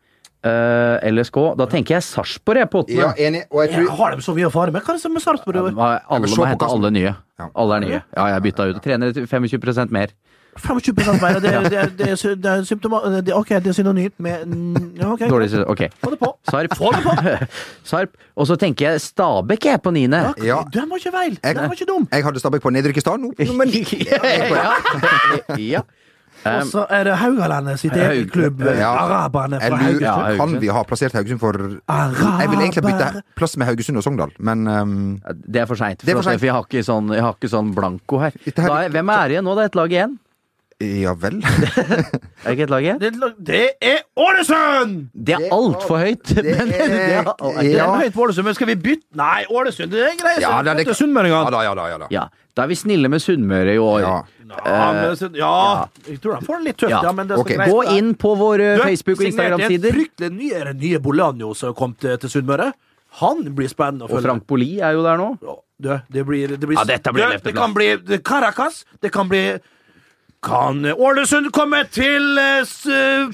Speaker 1: Eh, LSK. Da tenker jeg Sarpsborg, jeg, på
Speaker 2: ja,
Speaker 1: åttende.
Speaker 2: enig. Og jeg
Speaker 5: Jeg
Speaker 2: tror
Speaker 5: har dem så mye å fare med. Hva er det som er Sarpsborg i år?
Speaker 1: Hva- Alle
Speaker 2: men se
Speaker 1: må
Speaker 2: på
Speaker 1: hente
Speaker 2: Kasper.
Speaker 1: alle nye.
Speaker 2: Ja.
Speaker 1: Alle er nye. Ja, jeg bytta ut. Trener til 25 mer.
Speaker 5: 25 mer, og det, det, er- det, er sy- det er symptoma... eh, Det, ok, det er synonymt med mm, ja, ok.
Speaker 1: Dårlig sesong. Ok.
Speaker 5: Få det på.
Speaker 1: Sarp. Sarp. Og så tenker jeg Stabæk, jeg, på niende.
Speaker 2: Ja.
Speaker 5: Den var ikke feil!
Speaker 2: Jeg-
Speaker 5: Den var ikke dum!
Speaker 2: jeg hadde Stabæk på nedrykk i stad. Nå på nummer ni.
Speaker 1: ja. ja.
Speaker 5: Og så er det Haugalandet sitt eget klubb.
Speaker 2: Eh,
Speaker 5: eh,
Speaker 2: Ja.
Speaker 5: Araberne
Speaker 2: Jeg
Speaker 5: fra
Speaker 2: lurer,
Speaker 5: Haugesund.
Speaker 1: Ja,
Speaker 2: kan
Speaker 1: Haugesund.
Speaker 2: vi ha plassert Haugesund for
Speaker 5: Araber.
Speaker 2: Jeg vil egentlig bytte plass med Haugesund og Sogndal, men ehm,
Speaker 1: Det er for seint.
Speaker 2: Det er
Speaker 1: For,
Speaker 2: for
Speaker 1: at
Speaker 2: sent.
Speaker 1: jeg har ikke sånn, jeg har ikke sånn blanko her.
Speaker 2: Dette her-
Speaker 1: Da er, hvem er igjen nå? Det er ett lag igjen.
Speaker 2: ja vel.
Speaker 1: Er det ikke et lag igjen?
Speaker 5: Det, er lag- det er Ålesund!
Speaker 1: Det er altfor høyt!
Speaker 2: det er-
Speaker 1: men- det er- er ikke det?
Speaker 5: Det
Speaker 2: Ja.
Speaker 5: er høyt på Ålesund, men skal vi bytte Nei, Ålesund det er greit!
Speaker 2: Ja, det er-
Speaker 5: det...
Speaker 2: Ja
Speaker 5: Sunnmøringene.
Speaker 2: da, ja da. ja da
Speaker 1: Ja, da er vi snille med Sunnmøre i år.
Speaker 2: Ja. eh,
Speaker 5: Ja, men så- ja, jeg tror han får det litt tøft,
Speaker 1: Ja.
Speaker 5: ja. men det skal
Speaker 2: Ok.
Speaker 5: greit.
Speaker 1: Gå inn på våre
Speaker 5: Du,
Speaker 1: Eh, Facebook- og
Speaker 5: signerte jeg
Speaker 1: Instagram-sider.
Speaker 5: Fryktelig ny, er det nye Bolanjo som kom til, til Sunnmøre. Han blir spennende å
Speaker 1: Og
Speaker 5: følge.
Speaker 1: Frank Poli er jo der nå.
Speaker 5: Du, det blir, det blir,
Speaker 1: Ja, dette blir
Speaker 5: du,
Speaker 1: leppeplan.
Speaker 5: det kan bli Caracas. Det kan bli Kan Ålesund komme til eh, s-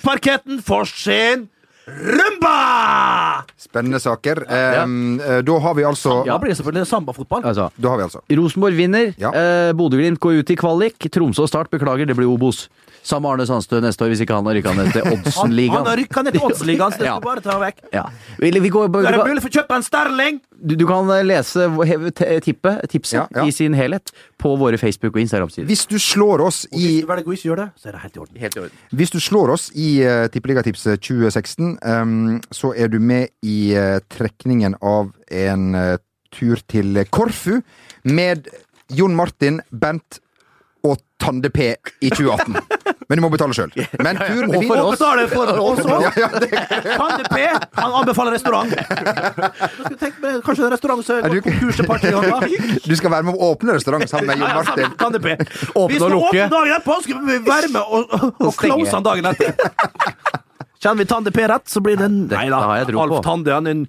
Speaker 5: parketten for sin rumba?
Speaker 2: Spennende saker. Ehm, eh, da har vi altså
Speaker 5: Ja, det blir selvfølgelig sambafotball.
Speaker 1: Altså,
Speaker 2: Da har vi altså
Speaker 1: Rosenborg vinner.
Speaker 2: Ja.
Speaker 1: Eh, Bodø-Glimt går ut i kvalik. Tromsø og Start beklager, det blir Obos. Sam Arne Sandstø neste år, hvis ikke han har rykka ned til
Speaker 5: Han, han har
Speaker 1: Oddsen-ligaen.
Speaker 5: rykka ned til Oddsligaen, så det
Speaker 1: Ja.
Speaker 5: skal bare ta vekk.
Speaker 1: Ja. Eller vi går,
Speaker 5: Da er det
Speaker 1: du,
Speaker 5: mulig for å kjøpe en Sterling.
Speaker 1: du kan eh, lese hvor- hev- te- tippet, tipset
Speaker 2: Ja, ja.
Speaker 1: i sin helhet på våre Facebook- og Instagram-sider.
Speaker 2: Hvis du slår oss i
Speaker 5: Hvis du velger å ikke gjøre det, så er det helt i orden.
Speaker 2: Hvis du slår oss i uh, Tippeligatipset 2016, ehm, så er du med i eh, trekningen av en eh, tur til Korfu med Jon Martin, Bent og Tande P i 2018. Men du må betale sjøl. Men turen er
Speaker 1: Og for
Speaker 2: fin.
Speaker 5: Og betale for oss òg.
Speaker 2: Ja, ja, det,
Speaker 5: Tante P han anbefaler restaurant. Nå skal vi tenke på det. Kanskje en restaurant som
Speaker 2: du-
Speaker 5: går konkurs et par ganger.
Speaker 2: du skal være med å åpne restaurant sammen med Jon Martin.
Speaker 5: Kan det bli?
Speaker 1: Åpne
Speaker 5: Hvis
Speaker 1: og
Speaker 5: du
Speaker 1: lukke.
Speaker 5: åpner dagen etterpå, skal vi være med og, og, og
Speaker 1: stenge.
Speaker 5: close han dagen etter. Kjenner vi Tande P rett, så blir det en Nei da,
Speaker 1: har jeg tro
Speaker 5: Alf
Speaker 1: på.
Speaker 5: Tande han er en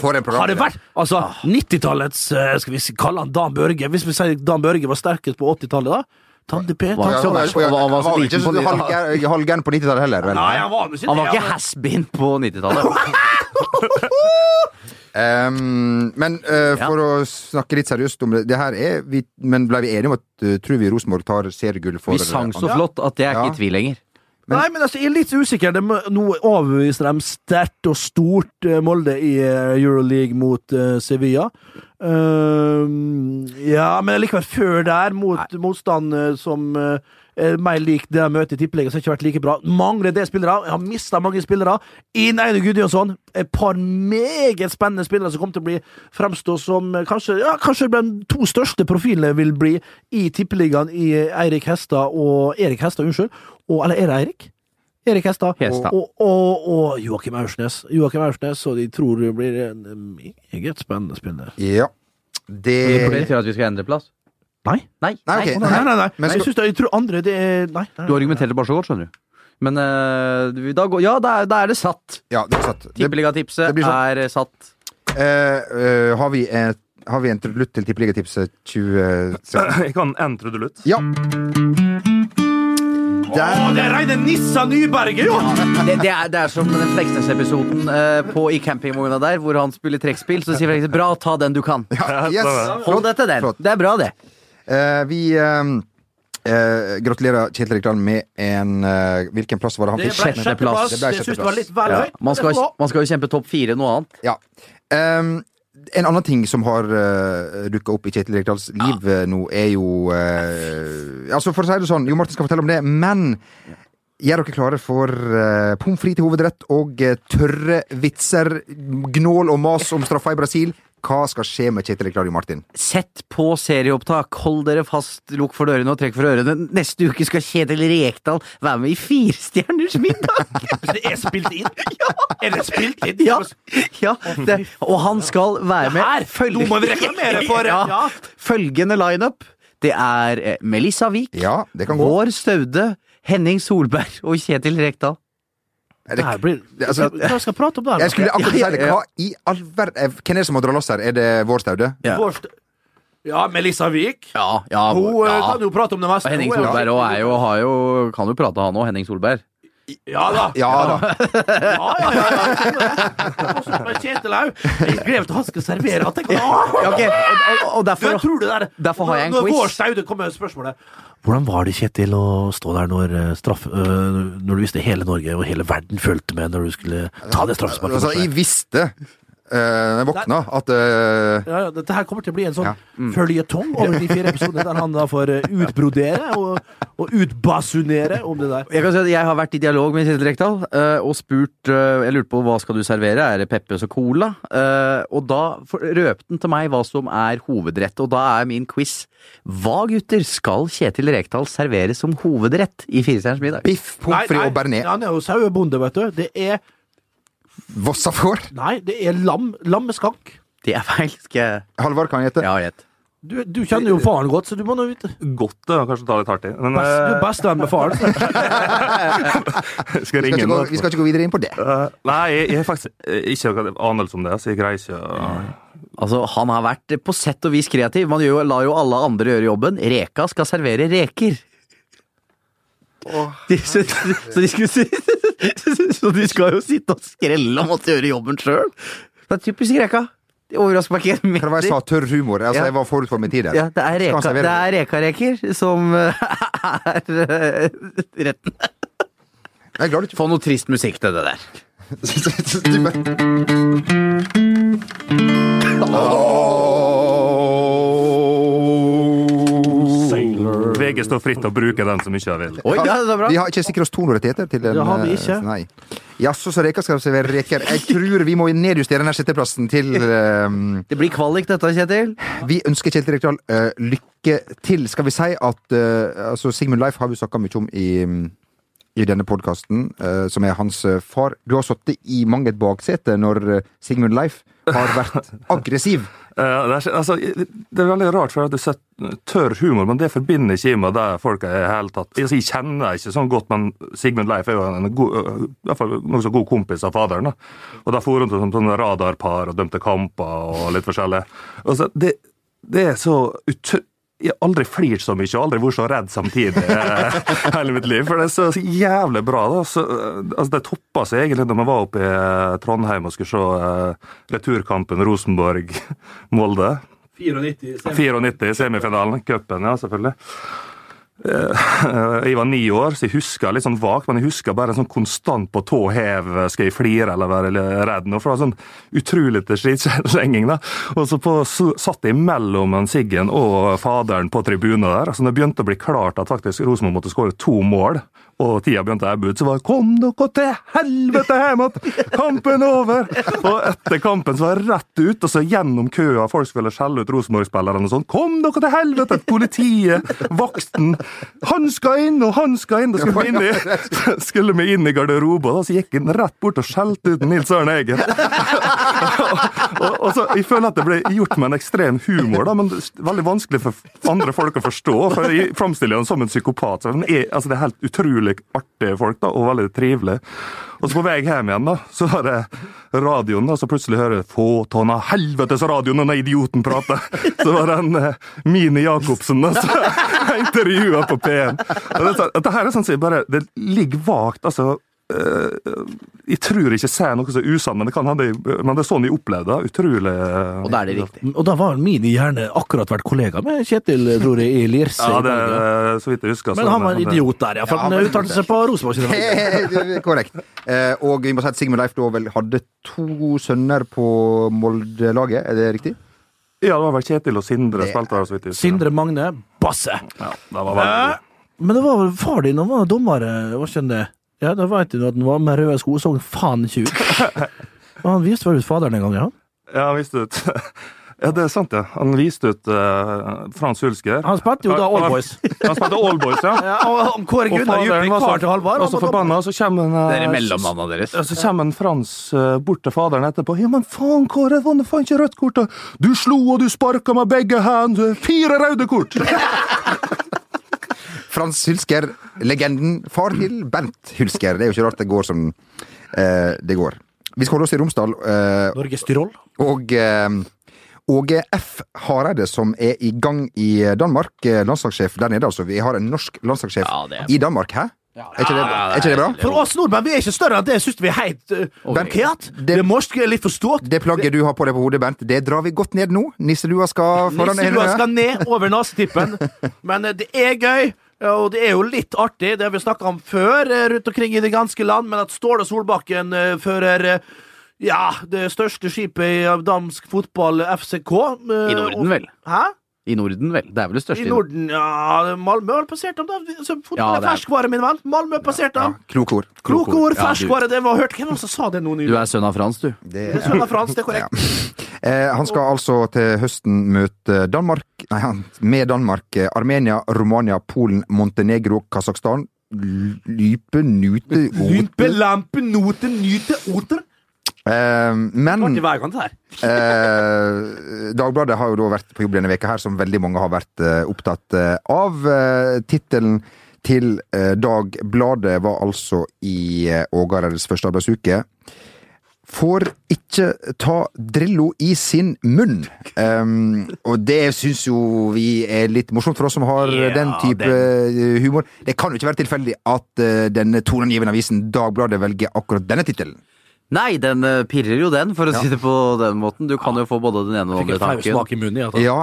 Speaker 2: For en programleder.
Speaker 5: Har det vært altså 90-tallets eh, Skal vi si- kalle han Dan Børge? Hvis vi sier Dan Børge var sterkest på 80-tallet, da? Tande P
Speaker 1: Var
Speaker 5: Tande-
Speaker 1: han så verst?
Speaker 2: Ja,
Speaker 1: Han var- han var så
Speaker 2: var
Speaker 1: liten
Speaker 2: ikke
Speaker 1: på
Speaker 2: så
Speaker 1: ni-
Speaker 2: halvgæren- halvgæren på 90-tallet heller. vel?
Speaker 5: Nei, han var jo ikke
Speaker 1: Han var
Speaker 5: det, altså.
Speaker 1: ikke has-been på 90-tallet.
Speaker 2: Ehm, men eh, for å snakke litt seriøst om det, det her er vi, Men ble vi enige om at eh, tror vi Rosenborg tar seriegull for eh,
Speaker 1: Vi sang så flott at jeg er ikke i tvil lenger.
Speaker 5: Nei, men altså, jeg er litt usikker. De, nå overbeviser de sterkt og stort eh, Molde i eh, Euroleague mot eh, Sevilla. Ehm, ja, men likevel før der, mot motstand eh, som eh, er mer lik det de møter i tippeligaen, som ikke har vært like bra. Mangler det spillere. Jeg har mista mange spillere. Inn Einar Gudjonsson. Et par meget spennende spillere som kommer til å bli fremstå som eh, kanskje ja, kanskje de to største profilene vil bli i tippeligaen i eh, Eirik Hestad og Erik Hestad, unnskyld. Og, eller er det Eirik? Erik Hestad.
Speaker 1: Hestad.
Speaker 5: Og, og, og Joakim Aursnes. Joakim Aursnes, og de tror det blir en eh, meget spennende spiller.
Speaker 2: Ja.
Speaker 1: Det
Speaker 2: Det
Speaker 1: betyr at vi skal endre plass.
Speaker 5: Eh. Nei.
Speaker 1: Nei.
Speaker 2: Nei, ok.
Speaker 5: Å, Nei, nei, nei. nei.
Speaker 2: Men
Speaker 5: jeg,
Speaker 2: skal,
Speaker 5: synes det, jeg tror andre det er Nei. nei.
Speaker 1: Du argumenterte bare så godt, skjønner du. Men eh, vi- da går Ja, da er, da er det satt.
Speaker 2: ja, det er satt. Det,
Speaker 1: Tippeligatipset
Speaker 2: det blir sånn.
Speaker 1: er eh, satt.
Speaker 2: eh, eh, har, vi et, har vi en trudelutt til Tippeligatipset 2017?
Speaker 3: Jeg kan en trudelutt.
Speaker 2: Ja.
Speaker 5: Å,
Speaker 2: Der.
Speaker 5: det er reine Nissa Nyberget, jo!
Speaker 1: Det, det, er, det er som den Fleksnes-episoden eh, på i campingvogna der, hvor han spiller trekkspill. Så sier Fleksnes 'bra, ta den du kan'.
Speaker 2: Yes.
Speaker 1: Hold deg til den.
Speaker 2: flott.
Speaker 1: Det er bra, det.
Speaker 2: Eh, vi eh, eh, gratulerer Kjetil Rekdal med en eh, Hvilken plass var det han
Speaker 5: Det
Speaker 2: fikk?
Speaker 5: ble
Speaker 1: sjette plass.
Speaker 5: sjetteplass.
Speaker 2: Det ble
Speaker 5: Det syns det var
Speaker 2: sjetteplass.
Speaker 5: litt vel høyt.
Speaker 1: Man, skal,
Speaker 5: Det var-
Speaker 1: man skal jo kjempe topp fire noe annet.
Speaker 2: Ja. Ehm, en annen ting som har uh, dukka opp i Kjetil Rekdals liv eh, nå, er jo eh, Altså, for å si det sånn, Jo Martin skal fortelle om det, men Gjør dere klare for uh, pommes frites til hovedrett og eh, tørre vitser, gnål og mas om straffa i Brasil. Hva skal skje med Kjetil Rekdal, Jo Martin?
Speaker 1: Sett på serieopptak, hold dere fast, lukk for dørene og trekk for ørene. Neste uke skal Kjetil Rekdal være med i Firestjerners middag!
Speaker 5: Det er spilt inn? Er det spilt inn?
Speaker 1: Ja, ja det, og han skal være med.
Speaker 5: Her!
Speaker 1: Følg-
Speaker 5: Nå må vi reklamere for-
Speaker 1: ja,
Speaker 5: ja.
Speaker 1: Følgende lineup, det er eh, Melissa Wiik,
Speaker 2: Ja, det kan gå.
Speaker 1: Vår Staude, Henning Solberg og Kjetil Rekdal.
Speaker 2: Er det-
Speaker 5: Nei, blir,
Speaker 2: altså-
Speaker 5: hva skal jeg prate om der?
Speaker 2: Jeg skulle akkurat
Speaker 5: Ja,
Speaker 2: si det.
Speaker 5: ja, ja.
Speaker 2: Hva i all verden Hvem er det som må dra loss her? Er det Vårstaude?
Speaker 1: Ja.
Speaker 5: Vårst- Ja, Melissa Wiik.
Speaker 1: Ja, ja,
Speaker 5: Hun eh,
Speaker 1: ja.
Speaker 5: kan jo prate om det meste.
Speaker 1: Og Henning
Speaker 5: Hun er jo-
Speaker 1: Solberg også er jo, har jo, kan jo prate, han òg, Henning Solberg.
Speaker 5: Ja da.
Speaker 2: Ja da.
Speaker 5: Ja, ja, ja, ja. Også med Kjetil Au. Jeg gleder meg til han skal servere. At jeg,
Speaker 1: Ja, ok, og, og, og
Speaker 5: du, jeg
Speaker 1: derfor
Speaker 5: tror det der,
Speaker 1: Derfor har jeg en
Speaker 5: når-
Speaker 1: quiz.
Speaker 5: Når vår saude kommer med spørsmålet Hvordan var det, Kjetil, å stå der når, eh, straff, eh, når du visste hele Norge og hele verden fulgte med når du skulle ta det straffesparket?
Speaker 2: Altså,
Speaker 5: mot
Speaker 2: jeg
Speaker 5: meg?
Speaker 2: visste uh, Jeg våkna at eh,
Speaker 5: ja, ja, dette her kommer til å bli en sånn
Speaker 2: Ja.
Speaker 3: mm.
Speaker 5: føljetong over de fire episodene der han da får eh, utbrodere og, og utbasunere om det der.
Speaker 1: jeg, kan si at jeg har vært i dialog med Kjetil Rekdal eh, og spurt eh, Jeg lurte på hva skal du servere. Er det Peppes og Cola? Eh, og da for- røpte han til meg hva som er hovedrett, og da er min quiz Hva, gutter, skal Kjetil Rekdal servere som hovedrett i Firestjerners middag?
Speaker 2: biff, pommes frites og bearnés.
Speaker 5: Han er jo sauebonde, vet du. Det er,
Speaker 2: Vossa får.
Speaker 5: nei, det er lam, lammeskank.
Speaker 1: Det er feil. Skal jeg
Speaker 2: Halvard kan hete.
Speaker 1: Ja, gjett.
Speaker 5: Du, du kjenner jo faren godt, så du må nå vite.
Speaker 3: Godt, det. og Kanskje ta litt hardt i. Men
Speaker 5: Best, du er
Speaker 3: eh,
Speaker 5: bestevenn med faren. så-
Speaker 3: skal jeg
Speaker 2: Vi skal,
Speaker 3: ringe
Speaker 2: ikke gå,
Speaker 3: nå?
Speaker 2: vi skal ikke gå videre inn på det.
Speaker 3: Eh, nei, jeg, jeg har faktisk eh, ikke noen anelse om det. Så jeg greier ikke å
Speaker 1: Altså, Han har vært på sett og vis kreativ. Man gjør jo, lar jo alle andre gjøre jobben. Reka skal servere reker. De, så, så, de skulle, si- så de skal jo sitte og skrelle og måtte gjøre jobben sjøl. Det er typisk Reka. De overrasker meg ikke en
Speaker 2: Hva var det jeg sa?
Speaker 1: meter.
Speaker 2: Tørr humor. Altså,
Speaker 1: Ja.
Speaker 2: Jeg var forut for min tid der.
Speaker 1: Ja, det er
Speaker 2: Skal han
Speaker 1: reka-
Speaker 2: servere
Speaker 1: det er rekareker som eh, er eh, retten.
Speaker 2: Jeg er glad du
Speaker 1: Få noe trist musikk til det der.
Speaker 2: ikke
Speaker 3: VG står fritt til å bruke den så mye jeg vil.
Speaker 1: Oi, ja, det var bra.
Speaker 2: Vi har ikke sikret oss tonerettigheter til en
Speaker 5: Det har vi ikke.
Speaker 2: eh, Nei. Jaså, så Reka skal servere reker. Jeg tror vi må nedjustere denne sitteplassen til eh,
Speaker 1: Det blir kvalik dette, Kjetil.
Speaker 2: Vi ønsker Kjetil Rekdal eh, lykke til. Skal vi si at eh, altså Sigmund Leif har vi snakka mye om i, i denne podkasten, som er hans eh, far. Du har sittet i mang et baksete når eh, Sigmund Leif har vært aggressiv.
Speaker 3: Eh, det, er, ikke- altså, det er veldig rart, for at du ser tørr humor, men det forbinder ikke jeg med det folk er i hele tatt. Jeg, jeg kjenner ikke sånn godt, men Sigmund Leif er jo en, god, eh, i hvert fall nokså god kompis av faderen. Da. Og da for han til som sånn radarpar og dømte kamper og litt forskjellig. Og så, det, det er så ut... Jeg har aldri flirt så mye og aldri vært så redd samtidig eh, hele mitt liv. For det er så jævlig bra. da. Så, eh, altså, det toppa seg egentlig da vi var oppe i eh, Trondheim og skulle se eh, returkampen Rosenborg-Molde.
Speaker 5: 94. så jeg-
Speaker 3: 94 i semifinalen. Cupen, ja, selvfølgelig. Eh, Jeg var ni år, så jeg husker litt sånn vagt, men jeg husker bare sånn konstant på tå hev. eh, Skal jeg flire eller være litt redd nå? For det var sånn utrolig til slenging, da. Og så på, så satt jeg mellom han Siggen og faderen på tribunen der. Altså, når det begynte å bli klart at faktisk Rosenborg måtte skåre to mål, og tida begynte å ebbe ut, så var det 'Kom dere til helvete hjem att! Kampen er over!' Og etter kampen så var jeg rett ut, og så gjennom køa. Folk skulle skjelle ut Rosenborg-spillerne og sånn. 'Kom dere til helvete!' Politiet, vakten. Han skal inn, og han skal inn! Da skulle vi inn i, skulle vi inn i garderoben, og da, så gikk han rett bort og skjelte ut Nils Arne Eggen. og, og så, jeg føler at det ble gjort med en ekstrem humor, da, men det er veldig vanskelig for andre folk å forstå. For jeg framstiller han som en psykopat. Så han er, altså, det er helt utrolig artige folk, da, og veldig trivelige. Og så på vei hjem igjen, da, så var det radioen, og så plutselig hører jeg 'Få tonna helvetes radioen', og den idioten prater. Så var det en eh, Mini Jacobsen, da, som jeg intervjuet på P1. Og det, er sånn- dette her er sånn som jeg bare Det ligger vagt, altså. eh, jeg tror ikke jeg sier noe så usant, men det kan hende, jeg- men det er sånn jeg opplevde det. Utrolig
Speaker 1: Og da er det riktig.
Speaker 5: Og da var min hjerne akkurat vært kollega med Kjetil, eh, tror jeg, i Lirse. i
Speaker 3: Ja, det
Speaker 5: Norge.
Speaker 3: er så vidt jeg husker.
Speaker 5: Men
Speaker 3: sånn,
Speaker 5: han var en
Speaker 3: det-
Speaker 5: idiot der, ja. For han uttalte seg på Rosenborg sine vegne.
Speaker 2: Korrekt. Eh, og vi må si at Sigmund Leif da vel hadde to sønner på Molde-laget, er det riktig?
Speaker 3: Ja, det var vel Kjetil og Sindre spilte der, så vidt jeg husker.
Speaker 5: Sindre Magne Basse.
Speaker 3: Ja, det var veldig...
Speaker 5: Men det var vel far din, han var dommer, eh, var ikke han det? Ja, da veit du at han var med røde sko, så han faen ikke ut. Men han viste vel ut faderen en gang, ja?
Speaker 3: Ja, han viste ut Ja, det er sant, ja. Han viste ut eh, Frans Hulsker.
Speaker 5: Han spilte jo da All
Speaker 3: Han-
Speaker 5: Boys.
Speaker 3: Han spilte All Boys, ja.
Speaker 5: Ja, og om Kåre
Speaker 3: Og
Speaker 5: Gunnar
Speaker 3: faderen
Speaker 5: Djupvik
Speaker 3: var
Speaker 5: far til Halvard.
Speaker 3: og så
Speaker 5: han var dommer.
Speaker 3: forbanna, og så kommer han eh,
Speaker 1: Det er mellomnavna deres.
Speaker 3: Ja, Så kommer en Frans eh, bort til faderen etterpå. Ja, men faen, Kåre, det var nå faen ikke rødt kort, da! Du slo og du sparka med begge hendene! Fire røde kort!
Speaker 2: Frans Hulsker, legenden. Far til Bernt Hulsker. Det er jo ikke rart det går som eh, det går. Vi skal holde oss i Romsdal. Eh,
Speaker 5: Norges Tyrol.
Speaker 2: og eh, Åge F. Hareide, som er i gang i Danmark, eh, landslagssjef der nede. altså. Vi har en norsk landslagssjef
Speaker 1: Ja, det er-
Speaker 2: i Danmark, hæ? er, ikke det, er ikke det bra?
Speaker 5: For oss nordmenn vi er ikke større enn det. Syns vi er helt uh, parkert. Det, morske er litt for stort.
Speaker 2: Det plagget du har på deg på hodet, Bent, det drar vi godt ned nå. Nisselua skal foran
Speaker 5: Nisselua skal ned over nesetippen. Men eh, det er gøy, eh, og det er jo litt artig. Det har vi snakka om før eh, rundt omkring i det ganske land, men at Ståle Solbakken eh, fører eh, ja, det største skipet i dansk fotball, FCK.
Speaker 1: I
Speaker 5: eh,
Speaker 1: Norden,
Speaker 5: og-
Speaker 1: vel?
Speaker 5: Hæ?
Speaker 1: I Norden, vel? Det er vel det største
Speaker 5: I Norden, ja Malmö har passert dem, da. Så fotball
Speaker 1: Ja,
Speaker 5: er
Speaker 1: det er-
Speaker 5: ferskvare, min venn. Malmø har passert dem.
Speaker 2: Kloke ord.
Speaker 5: Kloke ord,
Speaker 1: Ja, du-
Speaker 5: ferskvare. Det var hørt. Hvem var det som sa det nå
Speaker 1: Du
Speaker 5: nylig?
Speaker 1: er sønn av Frans, du.
Speaker 2: Det,
Speaker 5: Det er Søndag Frans, det er korrekt.
Speaker 2: Eh, han skal altså til høsten møte Danmark Nei, han- med Danmark, eh, Armenia, Romania, Polen, Montenegro, Kasakhstan L- Lype, Nute,
Speaker 5: Lympe,
Speaker 2: Ote
Speaker 5: lampe, note, nyte, oter.
Speaker 2: eh, Men
Speaker 1: Mm.
Speaker 5: Artig veikant her.
Speaker 2: eh, Dagbladet har jo da vært på jobb denne veka her, som veldig mange har vært eh, opptatt eh, av. Eh, Tittelen til eh, Dagbladet var altså i eh, Ågareids første arbeidsuke får ikke ta Drillo i sin munn. Ehm, og det syns jo vi er litt morsomt for oss som har
Speaker 5: Ja,
Speaker 2: den type eh, humor. Det kan jo ikke være tilfeldig at eh, denne toneangivende avisen Dagbladet velger akkurat denne tittelen.
Speaker 1: Nei, den eh, pirrer jo den, for å si det på den måten. Du kan jo få både den ene og den andre tanken.
Speaker 6: i munnen.
Speaker 2: Ja,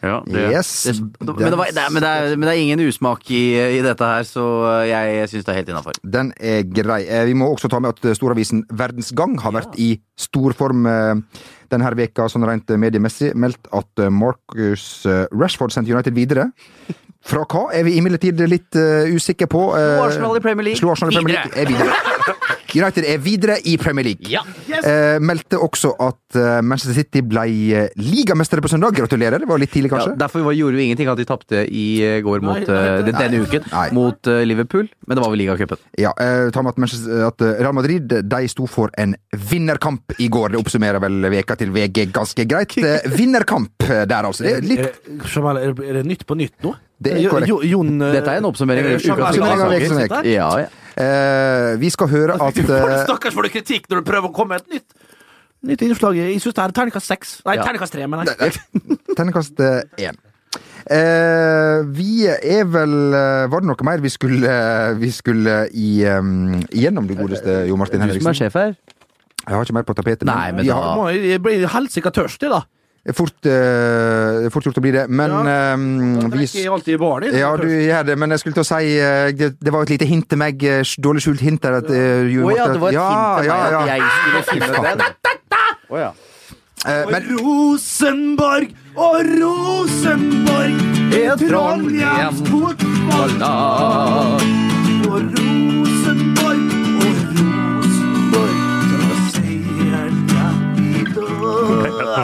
Speaker 3: Ja, det,
Speaker 2: yes.
Speaker 1: Det, men, det var, det er, men, det er, men det er ingen usmak i, i dette her, så eh, jeg, jeg syns det er helt innafor.
Speaker 2: Den er grei. Eh, Vi må også ta med at storavisen Verdens Gang har vært i stor form eh, denne veka, sånn rent mediemessig, meldt at eh, Marcus eh, Rashford sendte United videre. Fra hva er vi imidlertid litt eh, usikre på. eh,
Speaker 1: Arsenal i Premier League.
Speaker 2: Slo Arsenal i Premier
Speaker 1: Videre.
Speaker 2: League. Er videre. United er videre i Premier League.
Speaker 1: Ja.
Speaker 2: Eh, meldte også at eh, Manchester City ble eh, ligamestere på søndag. Gratulerer, det var litt tidlig
Speaker 1: Ja,
Speaker 2: kanskje?
Speaker 1: derfor var, gjorde jo ingenting at de tapte i eh, går mot eh, den- denne uken
Speaker 2: Nei.
Speaker 1: mot eh, Liverpool, men det var vel ligacupen.
Speaker 2: Ja, eh, ta med at, Manchester- at eh, Real Madrid de sto for en vinnerkamp i går. Det oppsummerer vel veka til VG ganske greit. Eh, vinnerkamp eh, der, altså. Det er litt
Speaker 5: Eh, Jamal, er, det- er det Nytt på Nytt nå?
Speaker 2: Det er
Speaker 5: Jo-
Speaker 2: korrekt.
Speaker 5: Jo, Jon, eh,
Speaker 1: Dette er en oppsummering av
Speaker 5: eh,
Speaker 1: ukas
Speaker 5: Jamal,
Speaker 2: oppsummering av
Speaker 5: Jamal,
Speaker 2: ukas
Speaker 5: Jamal.
Speaker 1: Ja, ja.
Speaker 2: eh, Vi skal høre at eh,
Speaker 5: Stakkars får du kritikk når du prøver å komme med et nytt Nytt innslag. Jeg syns det er terningkast seks. Nei,
Speaker 1: Ja.
Speaker 5: terningkast tre, mener jeg.
Speaker 2: Terningkast én. Eh, vi er vel eh, Var det noe mer vi skulle, eh, vi skulle i, eh, igjennom, du godeste Jo Martin
Speaker 1: Du som er
Speaker 2: Henriksen?
Speaker 1: sjef her.
Speaker 2: Jeg har ikke mer på tapetet.
Speaker 1: Nei, men
Speaker 2: vi
Speaker 1: da-
Speaker 2: har
Speaker 5: Må jeg- Jeg blir helsike tørstig, da.
Speaker 2: fort, eh, fort gjort å bli det. Men eh,
Speaker 5: Jeg
Speaker 2: vi
Speaker 5: drikker alltid i baren. jeg.
Speaker 2: Ja, du gjør det, men jeg skulle til å si eh, Det, det var jo et lite hint til meg, eh, dårlig skjult hint der. At, eh, Jo
Speaker 1: Å ja,
Speaker 2: Martin-
Speaker 1: det var et hint til
Speaker 2: ja,
Speaker 1: meg
Speaker 2: ja,
Speaker 1: at
Speaker 2: ja.
Speaker 1: jeg skulle finne den. Å ja.
Speaker 2: Eh,
Speaker 5: Og
Speaker 2: Men
Speaker 5: Rosenborg og Rosenborg
Speaker 1: Er
Speaker 5: er
Speaker 1: Trondheims
Speaker 5: Trondheims fotballag. Og Rosenborg og Rosenborg tar seieren ja, i dag.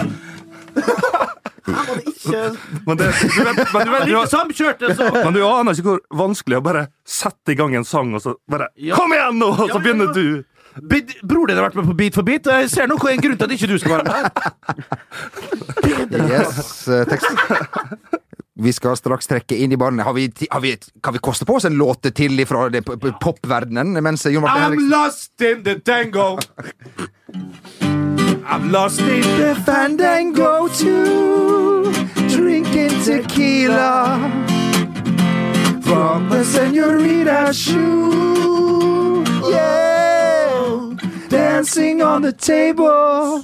Speaker 5: Her var det ikke
Speaker 3: men, det, du vet, men, du vet, du
Speaker 5: Ikke sånn.
Speaker 3: har,
Speaker 5: samkjørte, så.
Speaker 3: men du aner ikke hvor vanskelig å bare sette i gang en sang, og så bare Kom igjen, nå! Og
Speaker 5: Ja,
Speaker 3: så
Speaker 5: men-
Speaker 3: begynner du.
Speaker 5: Bid- Bror din har vært med på Beat for beat. Jeg ser nok en grunn til at ikke du skal være med.
Speaker 2: Yes, eh, tekst. Vi skal straks trekke inn i baren. Har vi, ti- har vi, kan vi koste på oss en låt til fra det p- p- popverdenen? Mens Jon
Speaker 1: Ah,
Speaker 2: Martin Henriksen
Speaker 5: I'm lost in the tango. I'm lost in the
Speaker 2: Fandango to drinking tequila from the senorita shoe. Yeah, dancing on the table,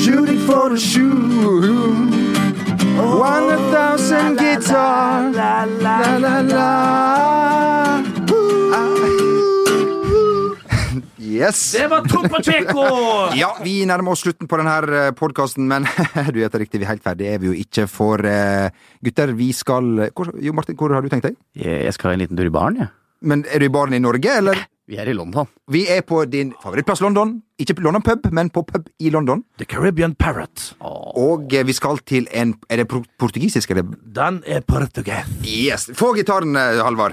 Speaker 2: shooting for the shoe. One thousand guitar, la la la la. Yes.
Speaker 5: Det var Tom Pacheco!
Speaker 2: Ja, vi nærmer oss slutten på denne podkasten, men du gjetter riktig, vi er helt ferdig er vi jo ikke. For eh, gutter, vi skal hvor, Jo Martin, hvor har du tenkt deg?
Speaker 1: Jeg jeg skal en liten tur i baren, jeg.
Speaker 2: Men Er du i baren i Norge, eller?
Speaker 1: Vi er i London.
Speaker 2: Vi er på din favorittplass London. Ikke på London pub, men på pub i London.
Speaker 5: The Caribbean Parrot.
Speaker 2: Og eh, vi skal til en Er det pro- portugisisk, eller?
Speaker 5: Den er portugis.
Speaker 2: Yes! Få gitaren, eh, Halvard.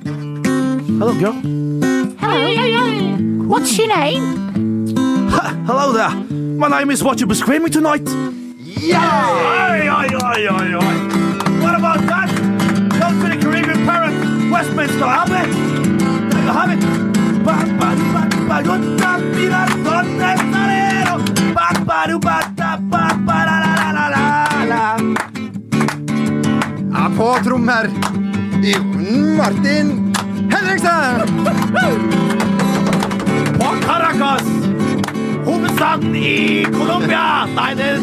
Speaker 5: Hello, girl.
Speaker 10: What's your name?
Speaker 5: Ha, hello there. My name is What You Be Screaming Tonight. Yeah! Oi, oi, oi, oi, oi. What about that?
Speaker 10: Westminster Abbey. There you have it. Ba, ba, do, ba, do, ba, do, da, be, da, don, de, torero. Ba, ba, do, ba, da, ba, ba, la, la, la, la, la, la.
Speaker 6: Ja, på trommer Jon Martin Henriksen!
Speaker 10: På Caracas, hovedstaden i Colombia. Nei, det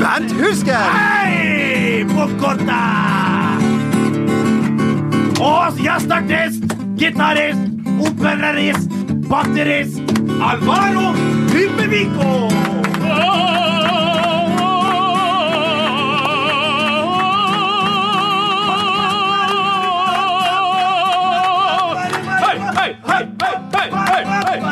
Speaker 6: Bernt Husker!
Speaker 10: Hei, Bogota! Og gjesteartist, gitarist, operarist, batterist Alvaro Hypervico.